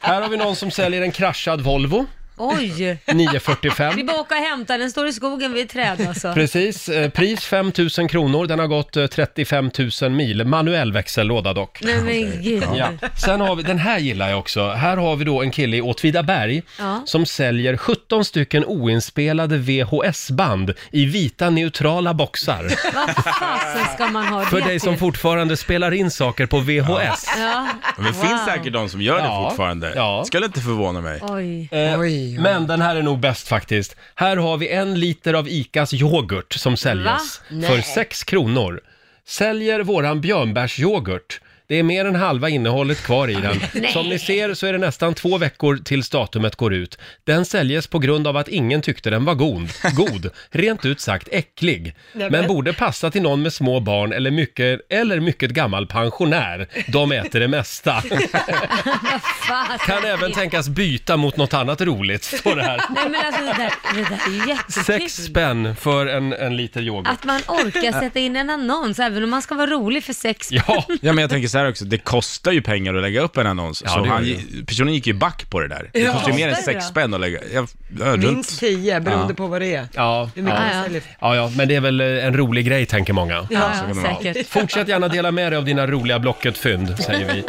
Här har vi någon som säljer en kraschad Volvo, Oj. Vi 945. bara åka och hämta, den står i skogen vid ett träd alltså. Precis, eh, pris 5 000 kronor, den har gått eh, 35 000 mil, manuell växellåda dock. Nej men gud. Ja. Sen har vi, den här gillar jag också. Här har vi då en kille i Åtvidaberg Ja. som säljer 17 stycken oinspelade VHS-band i vita neutrala boxar. Vad fasen ska man ha För det dig som till? fortfarande spelar in saker på VHS. Ja. Men det finns säkert de som gör Ja. det fortfarande. Ja. Skulle inte förvåna mig. Oj. Eh, Men den här är nog bäst faktiskt. Här har vi en liter av ICAs yoghurt som säljs Va? för Nej. 6 kronor. Säljer våran björnbärsyoghurt. Det är mer än halva innehållet kvar i den. (laughs) Nej. Som ni ser så är det nästan två veckor tills datumet går ut. Den säljes på grund av att ingen tyckte den var god. god. Rent ut sagt äcklig. Nej, Men men- borde passa till någon med små barn eller mycket, eller mycket gammal pensionär. De äter (laughs) det mesta. Vad fasen. Kan även tänkas byta mot något annat roligt, står (laughs) det här. Nej men alltså det där, det där är ju jättekul. Sex spänn för en, en liter yoghurt. Att man orkar sätta in en annons även om man ska vara rolig för (laughs) sex Ja. ja, men jag tänker så här också, det kostar ju pengar att lägga upp en annons. Ja, så det gör han, det. gi- personen gick ju back på det där. Det Ja. kostar ju mer än Kostar det sex då? spänn att lägga. Jag, jag, Minst runt. tio, beroende Ja. på vad det är. Ja, Hur mycket ja. man säljer. ja, ja, men det är väl eh, en rolig grej tänker många. Ja, så kan det vara. säkert. Fortsätt gärna dela med dig av dina roliga Blocket-fynd, säger (laughs) vi.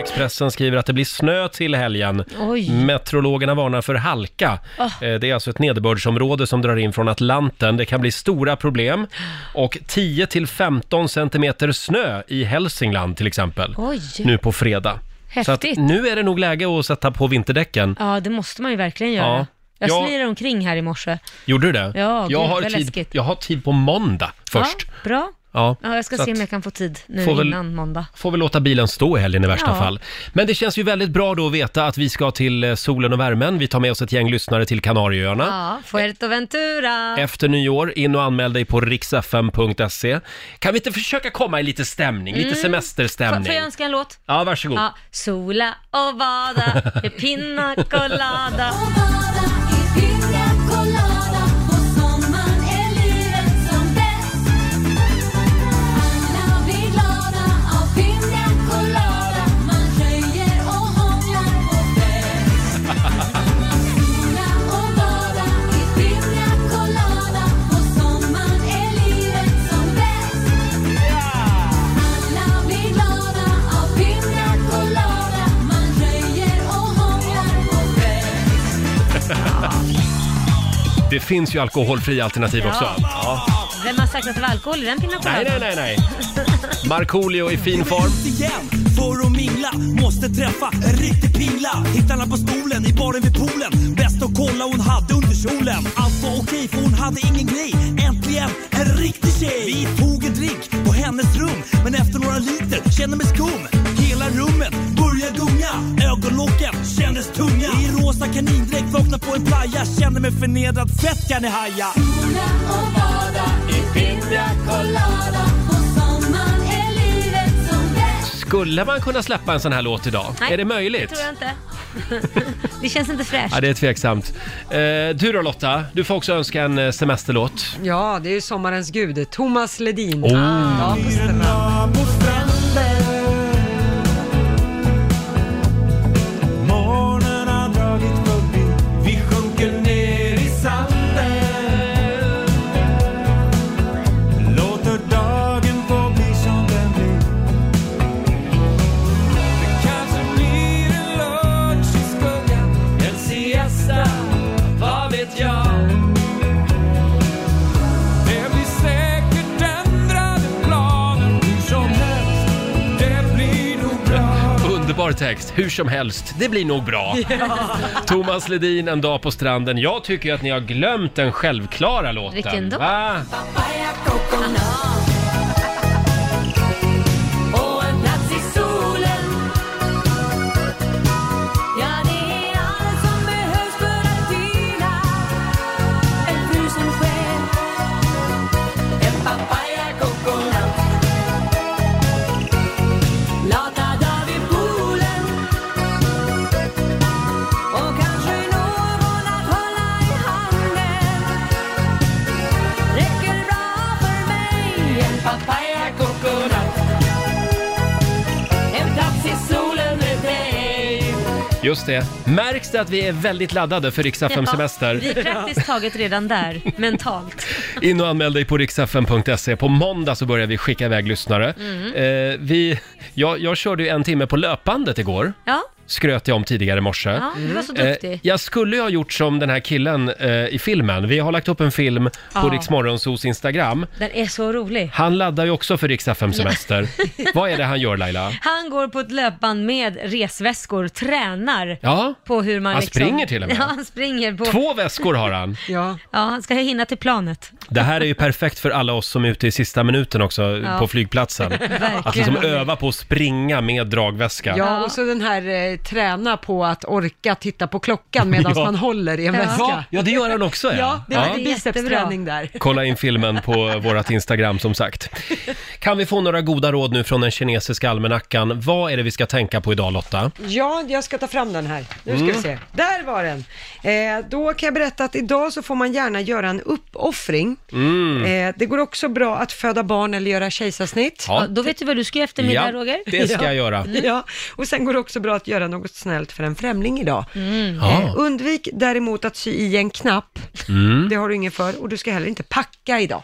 Expressen skriver att det blir snö till helgen. Oj. Meteorologerna varnar för halka. Ah. Eh, Det är alltså ett nederbördsområde som drar in från Atlanten. Det kan bli stora problem. Och 10-15 centimeter snö i Hälsingland till exempel. Oj. Nu på fredag. Så att Häftigt. Ah. nu är det nog läge att sätta på vinterdäcken. Ja, det måste man ju verkligen göra. Ja. Jag Ja. slirar omkring här i morse. Gjorde du det? Ja, gud, jag, har vad tid, läskigt. jag har tid på måndag först. Ja, bra. Ja, Ja, jag ska så se om att- jag kan få tid nu Får väl- innan måndag. Får väl låta bilen stå i helgen i värsta Ja. fall. Men det känns ju väldigt bra då att veta att vi ska till eh, solen och värmen. Vi tar med oss ett gäng lyssnare till Kanarieöarna. Ja, Fuerteventura. Efter nyår, in och anmäl dig på riksfm.se. E. Kan vi inte försöka komma i lite stämning, lite Mm. Får, semesterstämning? får jag önska en låt? Ja, varsågod. Ja, sola och bada i pina colada. Alla blir glada av Pina Colada (laughs) Det finns ju alkoholfria alternativ Ja. också. Ja. Vem har sagt att det var alkohol i den pina Nej, nej, nej, (laughs) nej. Markoolio i fin form. igen för att mingla Måste träffa en riktig pingla Hittarna på stolen i baren vid poolen Bäst att kolla hon hade under kjolen Allt var okej för hon hade ingen grej Äntligen en riktig tjej Vi tog en drink på hennes rum Men efter några liter kände mig skum Hela rummet började gunga Ögonlocken kändes tunga I rosa kanindräkt vaknade på en playa Kände mig förnedrad, fett kan ni haja Skulle man kunna släppa en sån här låt idag? Nej, Är det möjligt? Det tror jag inte. det känns inte fräscht. Ja, det är tveksamt. Eh, du då Lotta, du får också önska en eh, semesterlåt. Ja, det är ju sommarens gud, Thomas Ledin. Oh. Ja, på stranden. Morgonen har dragit förbi Vi sjunker ner i sanden Låter dagen få bli som den blir Det kanske blir en lunch i skuggan En siesta, vad vet jag Det blir säkert ändrade planer Hur som helst, det blir nog bra Underbar text, hur som helst, det blir nog bra. (laughs) Ja. Thomas Ledin, En dag på stranden. Jag tycker ju att ni har glömt den självklara låten. Vilken då? Va? Och en plats i solen Ja, det är allt som behövs för att vila En frusen själ En papaya coconut Lata dagar vid poolen Och kanske någon att hålla i handen Räcker bra för mig En papaya coconut En plats i solen med dig Just det. Märks det att vi är väldigt laddade för Riksa 5 Semester? (laughs) Vi är praktiskt taget redan där, mentalt. In och anmäl dig på riksfm.se. På måndag så börjar vi skicka iväg lyssnare. Mm. Eh, vi, jag, jag körde ju en timme på löpandet igår. Ja. Skröt jag om tidigare i morse. Ja, du var så duktig. Eh, jag skulle ju ha gjort som den här killen eh, i filmen. Vi har lagt upp en film på Ja. Rix Morgonzos Instagram. Den är så rolig. Han laddar ju också för Rix FM Ja. (laughs) Semester. Vad är det han gör Laila? Han går på ett löpband med resväskor, tränar Ja, på hur man Han liksom... springer till och med. Ja, han springer på... två väskor har han. Ja. Ja, han ska hinna till planet. Det här är ju perfekt för alla oss som är ute i sista minuten också Ja. på (laughs) flygplatsen. Verkligen. Att liksom öva på att springa med dragväska. Ja, och så den här eh, träna på att orka titta på klockan medan Ja. man håller i en Ja, väska. ja, det gör han också ja. Ja, det var lite bicepsträning där. Kolla in filmen på vårt Instagram som sagt. Kan vi få några goda råd nu från den kinesiska almanackan? Vad är det vi ska tänka på idag Lotta? Ja, jag ska ta fram den här. Nu ska Mm. vi se. Där var den. Eh, då kan jag berätta att idag så får man gärna göra en uppoffring. Mm. Eh, det går också bra att föda barn eller göra kejsarsnitt. Ja. Ja, då vet du vad du ska göra eftermiddag, Ja, Roger. det ska jag göra. Mm. Ja. Och sen går det också bra att göra något snällt för en främling idag. Ja. Eh, undvik däremot att sy i en knapp. Mm. Det har du ingen för och du ska heller inte packa idag.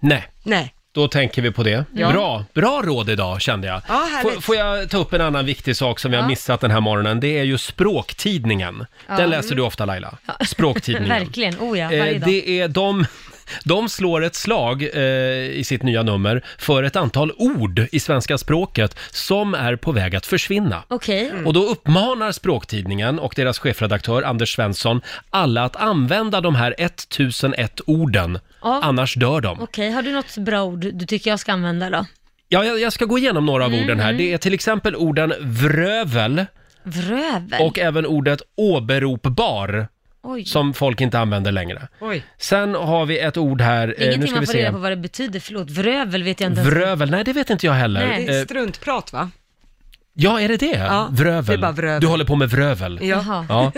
Nej. Nej. Då tänker vi på det. Ja. Bra, bra råd idag kände jag. Ja, härligt. får, får jag ta upp en annan viktig sak som vi har missat den här morgonen? Det är ju språktidningen. Ja. Den läser du ofta Laila. Språktidningen. (laughs) Verkligen, oh ja, varje Eh, dag. det är de... De slår ett slag eh, i sitt nya nummer för ett antal ord i svenska språket som är på väg att försvinna. Okej. Mm. Och då uppmanar Språktidningen och deras chefredaktör Anders Svensson alla att använda de här 1001 orden, Ja. annars dör de. Okej, har du något bra ord du tycker jag ska använda då? Ja, jag, jag ska gå igenom några av Mm, orden här. mm. Det är till exempel orden vrövel Vrövel? och även ordet åberopbar Oj. som folk inte använder längre. Oj. Sen har vi ett ord här, eh, nu Ingenting ska vi man får reda se. på vad det betyder, förlåt. Vrövel vet jag inte ens. Vrövel, nej det vet inte jag heller. Nej. Eh, Struntprat va? ja, är det det? Ja, vrövel. det är bara vrövel. Du håller på med vrövel. Ja. Ja.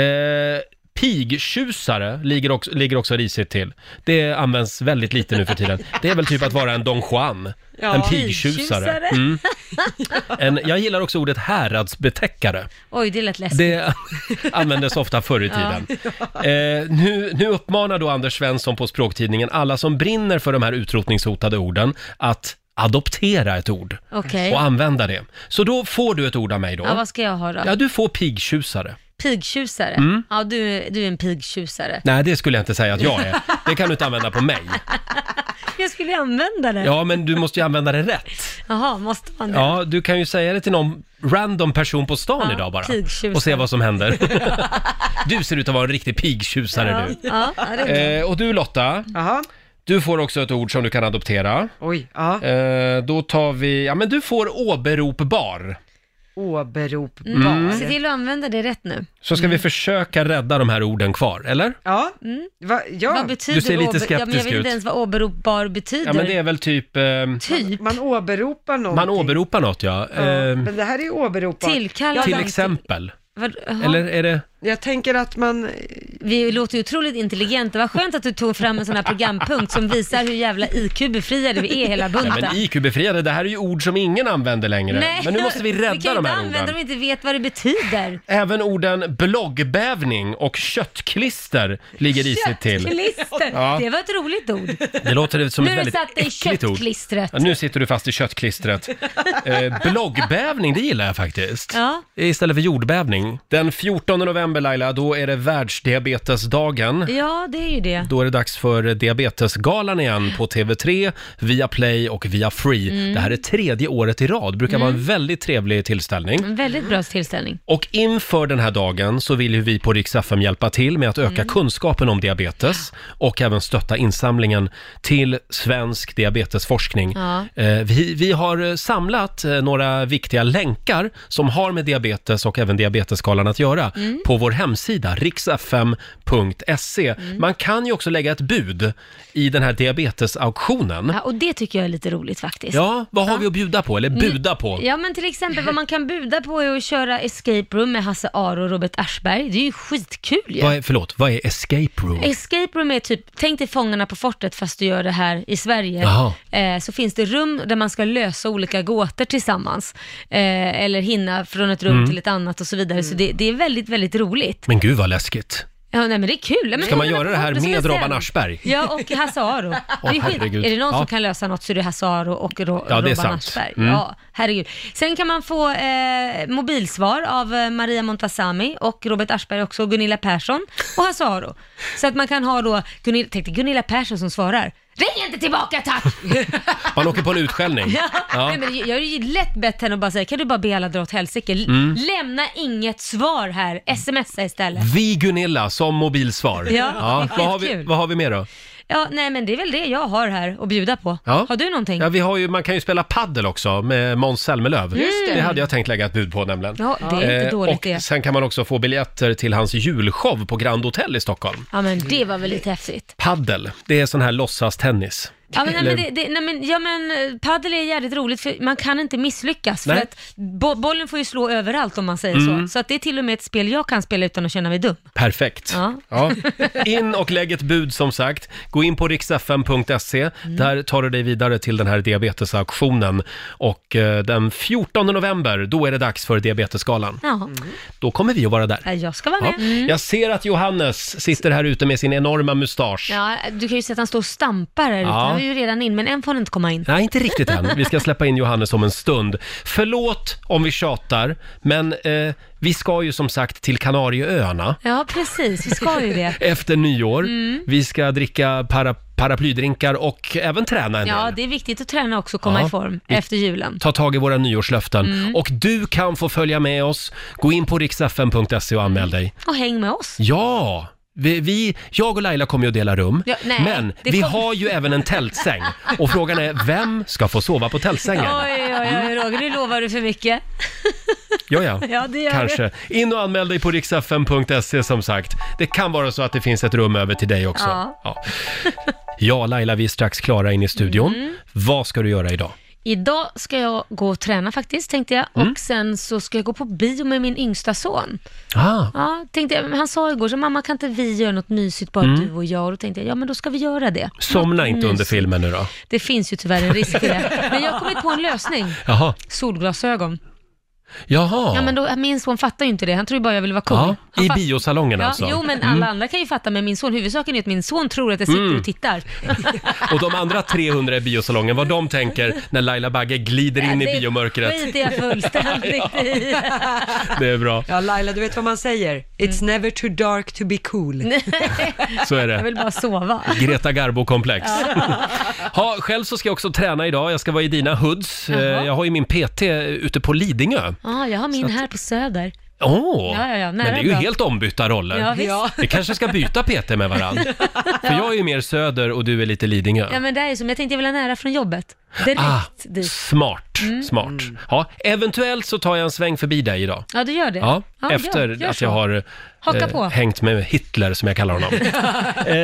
Eh, pigtjusare ligger också, ligger också risigt till. Det används väldigt lite nu för tiden. Det är väl typ att vara en Don Juan, en pigtjusare. (laughs) Mm. En, jag gillar också ordet häradsbetäckare. Oj, det lät läskigt. Det (laughs) användes ofta förr i tiden. Eh, nu, nu uppmanar då Anders Svensson på Språktidningen alla som brinner för de här utrotningshotade orden att adoptera ett ord (laughs) Okej. och använda det. Så då får du ett ord av mig då. Ja, vad ska jag ha då? Ja, du får pigtjusare. Pigtjusare. Mm. Ja, du, du är en pigtjusare. Nej, det skulle jag inte säga att jag är. Det kan du inte använda på (laughs) mig. Jag skulle ju använda det. Ja, men du måste ju använda det rätt. Jaha, måste man det? Ja, du kan ju säga det till någon random person på stan Ja, idag bara. pigtjusare. Och se vad (laughs) som händer. du ser ut att vara en riktig pigtjusare nu. Ja, ja, det är Eh, och du Lotta, du får också ett ord som du kan adoptera. Oj, ja. Eh, då tar vi, ja men du får åberopbar. Åberopbar. bra. Mm. Se till att använda det rätt nu. Så ska vi Mm. försöka rädda de här orden kvar, eller? Ja. Va, ja. Vad betyder Du ser lite åbe- ja, men jag skeptisk vet ut. inte ens vad åberopbar betyder. Ja men det är väl typ, eh, Typ. Man åberopar någon. man åberopar något ja. Eh, Men det här är ju åberopat. Tillkallad. till exempel. Vad- jaha. Eller är det, Jag tänker att man... Vi låter ju otroligt intelligenta. Vad skönt att du tog fram en sån här programpunkt som visar hur jävla IQ-befriade vi är hela nej bunten. men IQ-befriade, det här är ju ord som ingen använder längre. Men (laughs) nu måste vi rädda vi kan ju de inte här använda orden. dem om vi inte vet vad det betyder. Även orden bloggbävning och köttklister ligger risigt till. Köttklister, Ja. det var ett roligt ord. Det låter som nu ett har du väldigt satt dig i äckligt ord. köttklistret. Ja, nu sitter du fast i köttklistret. Eh, bloggbävning, det gillar jag faktiskt. Ja. Istället för jordbävning. Den 14 november Laila, då är det världsdiabetesdagen. ja, det är ju det. Då är det dags för Diabetesgalan igen på TV3, via Play och via Free. Mm. Det här är tredje året i rad, brukar vara en Mm. väldigt trevlig tillställning. En väldigt bra tillställning. Och inför den här dagen så vill ju vi på Rix FM hjälpa till med att öka Mm. kunskapen om diabetes och även stötta insamlingen till svensk diabetesforskning. Ja. Eh, Vi, vi har eh, samlat eh, några viktiga länkar som har med diabetes och även diabetesskalan att göra Mm. på vår hemsida riksfm.se. Mm. Man kan ju också lägga ett bud i den här diabetesauktionen. Ja, och det tycker jag är lite roligt faktiskt. Ja, vad har vi att bjuda på? Eller buda på? Mm. Ja men till exempel vad man kan buda på är att köra Escape Room med Hasse Aro och Robert Aschberg. Det är ju skitkul ju. Vad är, förlåt, vad är escape room? Escape Room är typ, tänk dig Fångarna på fortet fast du gör det här i Sverige. Jaha. Eh, så finns det rum där man ska lösa olika gåtor tillsammans. Eh, eller hinna från ett rum Mm. till ett annat och så vidare. Så det, det är väldigt, väldigt roligt. Men gud vad läskigt. Ja, nej men det är kul. Ja, Men Ska man Fångarna göra på det här fortet som med jag Robban sen. Aschberg? Ja, och Hasse Aro. (laughs) Åh, det är, herregud. är det någon Ja. som kan lösa något så är det Hasse Aro och Ro- Ja, det är Robban sant. Aschberg. Mm. Ja, herregud. Sen kan man få eh, mobilsvar av eh, Maria Montazami och Robert Aschberg också, och Gunilla Persson och Hasse Aro. Så att man kan ha då, Gunilla, tänk dig Gunilla Persson som svarar. Ring inte tillbaka (laughs) tack! Man åker på en utskällning. (laughs) Ja. Ja. Nej, men jag har ju lätt bett henne att bara säga, kan du bara be alla dra åt helsike? L- Mm. Lämna inget svar här, smsa istället. Vi Gunilla som mobilsvar. Ja, det är vad, har vi, skitkul. vad har vi mer då? Ja, nej men det är väl det jag har här att bjuda på. Ja. Har du någonting? Ja, vi har ju, man kan ju spela paddel också med Måns Zelmerlöw. Just det. det. hade jag tänkt lägga ett bud på nämligen. Eh, Ja, det är inte dåligt och det. Sen kan man också få biljetter till hans julshow på Grand Hotel i Stockholm. Ja men det var väl lite häftigt. Paddel, det är sån här låtsastennis. Ja men, nej, men, Eller- det, det, nej, men, ja, men eh, padel är jävligt roligt för man kan inte misslyckas. För Nej. att bo bollen får ju slå överallt om man säger Mm. så. Så att det är till och med ett spel jag kan spela utan att känna mig dum. Perfekt. Ja. Ja. In och lägg ett bud som sagt. Gå in på riksfm.se. Mm. Där tar du dig vidare till den här diabetesauktionen. Och eh, den 14 november, då är det dags för Diabetesgalan. Ja. Då kommer vi att vara där. Ja, Jag ska vara med. Mm. Mm. Ja. Jag ser att Johannes sitter här ute med sin enorma mustasch. Ja, du kan ju se att han står och stampar här ute. Ja. Han är ju redan in, men än får han inte komma in. Nej, inte riktigt än. Vi ska släppa in Johannes om en stund. Förlåt om vi tjatar, men eh, vi ska ju som sagt till Kanarieöarna. (laughs) Ja, precis. Vi ska ju (laughs) det. efter nyår. Mm. Vi ska dricka para, paraplydrinkar och även träna en Ja, del. det är viktigt att träna också och komma Ja. i form Vi- efter julen. Ta tag i våra nyårslöften. Mm. Och du kan få följa med oss. Gå in på riksfn.se och anmäl dig. Och häng med oss. Ja! Vi, vi, jag och Laila kommer ju att dela rum, Ja, nej, men det vi kommer- har ju även en tältsäng. Och frågan är, vem ska få sova på tältsängen? Oj, oj, oj, Roger, nu lovar du för mycket. Ja, Mm. ja. (laughs) Ja, det gör Kanske. In och anmäl dig på riksfn.se som sagt. Det kan vara så att det finns ett rum över till dig också. Ja. Ja, ja Laila, vi är strax klara in i studion. Mm. Vad ska du göra idag? Idag ska jag gå och träna faktiskt, tänkte jag. Mm. Och sen så ska jag gå på bio med min yngsta son. Ah. Ja, tänkte jag, men han sa igår, så mamma kan inte vi göra något mysigt, bara Mm. du och jag? Och då tänkte jag, ja men då ska vi göra det. Somna Något inte under mysigt. filmen nu då. Det finns ju tyvärr en risk för det. Men jag har kommit på en lösning. Jaha. Solglasögon. Jaha. Ja, men då, min son fattar ju inte det. Han tror ju bara jag vill vara cool. Ja, Han i fatt- biosalongen ja, alltså. Jo, men alla Mm. andra kan ju fatta, men min son, huvudsaken är att min son tror att jag sitter Mm. och (laughs) tittar. Och de andra 300 i biosalongen, vad de tänker när Laila Bagge glider in i biomörkret. skiter jag (laughs) fullständigt (laughs) i. Det är bra. Ja, Laila, du vet vad man säger? It's Mm. never too dark to be cool. Så är det. Jag vill bara sova. Greta Garbo-komplex. Ha, själv så ska jag också träna idag. Jag ska vara i dina hoods. Eh, Jaha. Jag har ju min PT ute på Lidingö. Ja, jag har min här på Söder. Åh! Ja, ja, ja, nära men det är ju bra. helt ombytta roller. Ja, visst. Ja. Vi kanske ska byta PT med varandra. För jag är ju mer söder och du är lite Lidingö. Ja, men det är som, jag tänkte jag vill ha nära från jobbet. Direkt Ah, dit. Smart, Mm. smart. Ja, eventuellt så tar jag en sväng förbi dig idag. Ja, du gör det? Ja, gör- efter gör att så. jag har eh, Haka på. hängt med Hitler som jag kallar honom. eh,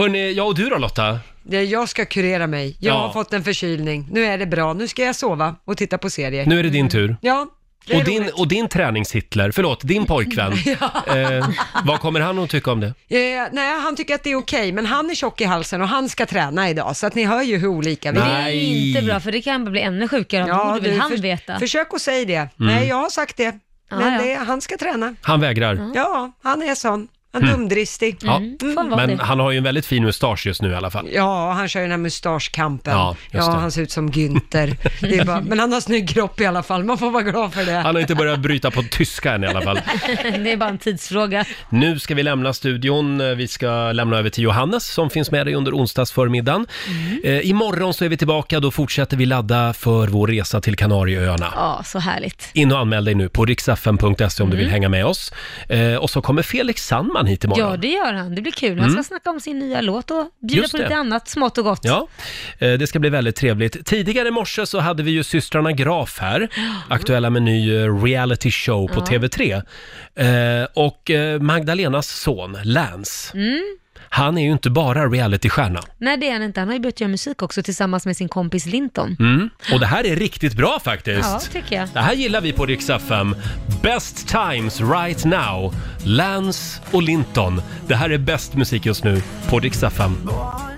hörni, jag och du då Lotta? Ja, Jag ska kurera mig. Jag Ja. har fått en förkylning. Nu är det bra. Nu ska jag sova och titta på serier. Nu är det din tur. Ja, det är Och din, roligt. och din träningshitler, förlåt, din pojkvän. eh, vad kommer han att tycka om det? Eh, nej, han tycker att det är okej, men han är tjock i halsen och han ska träna idag, så att ni hör ju hur olika vi Det är Nej. inte bra, för det kan bli ännu sjukare om det borde väl han veta. Försök att säga det. Mm. Nej, jag har sagt det, men ja. det, han ska träna. Han vägrar. Ja, han är sån. Han är Mm. dumdristig. Ja. Mm. Men han har ju en väldigt fin mustasch just nu i alla fall. Ja, han kör ju den här mustaschkampen. Ja, Ja, just det. han ser ut som Günther. Det (laughs) är bara, men han har snygg kropp i alla fall, man får vara glad för det. Han har inte börjat bryta på tyska än i alla fall. (laughs) det är bara en tidsfråga. Nu ska vi lämna studion. Vi ska lämna över till Johannes som finns med dig under onsdagsförmiddagen. Eh, imorgon så är vi tillbaka. Då fortsätter vi ladda för vår resa till Kanarieöarna. Ja, så härligt. In och anmäl dig nu på riksfn.se om du vill Mm. hänga med oss. Eh, och så kommer Felix Sandman hit imorgon. Ja, det gör han. Det blir kul. Han Mm. ska snacka om sin nya låt och bjuda Just på det. lite annat smått och gott. Ja, eh, det ska bli väldigt trevligt. Tidigare i morse så hade vi ju systrarna Graf här, aktuella med ny eh, reality show på Ja. TV3. Eh, Och eh, Magdalenas son, Lance, Mm. han är ju inte bara realitystjärna. Nej, det är han inte. Han har ju börjat göra musik också tillsammans med sin kompis Linton. Mm. Och det här är riktigt bra faktiskt. Ja, tycker jag. Det här gillar vi på Rix FM. Best times right now. Lance och Linton. Det här är bäst musik just nu på Rix FM.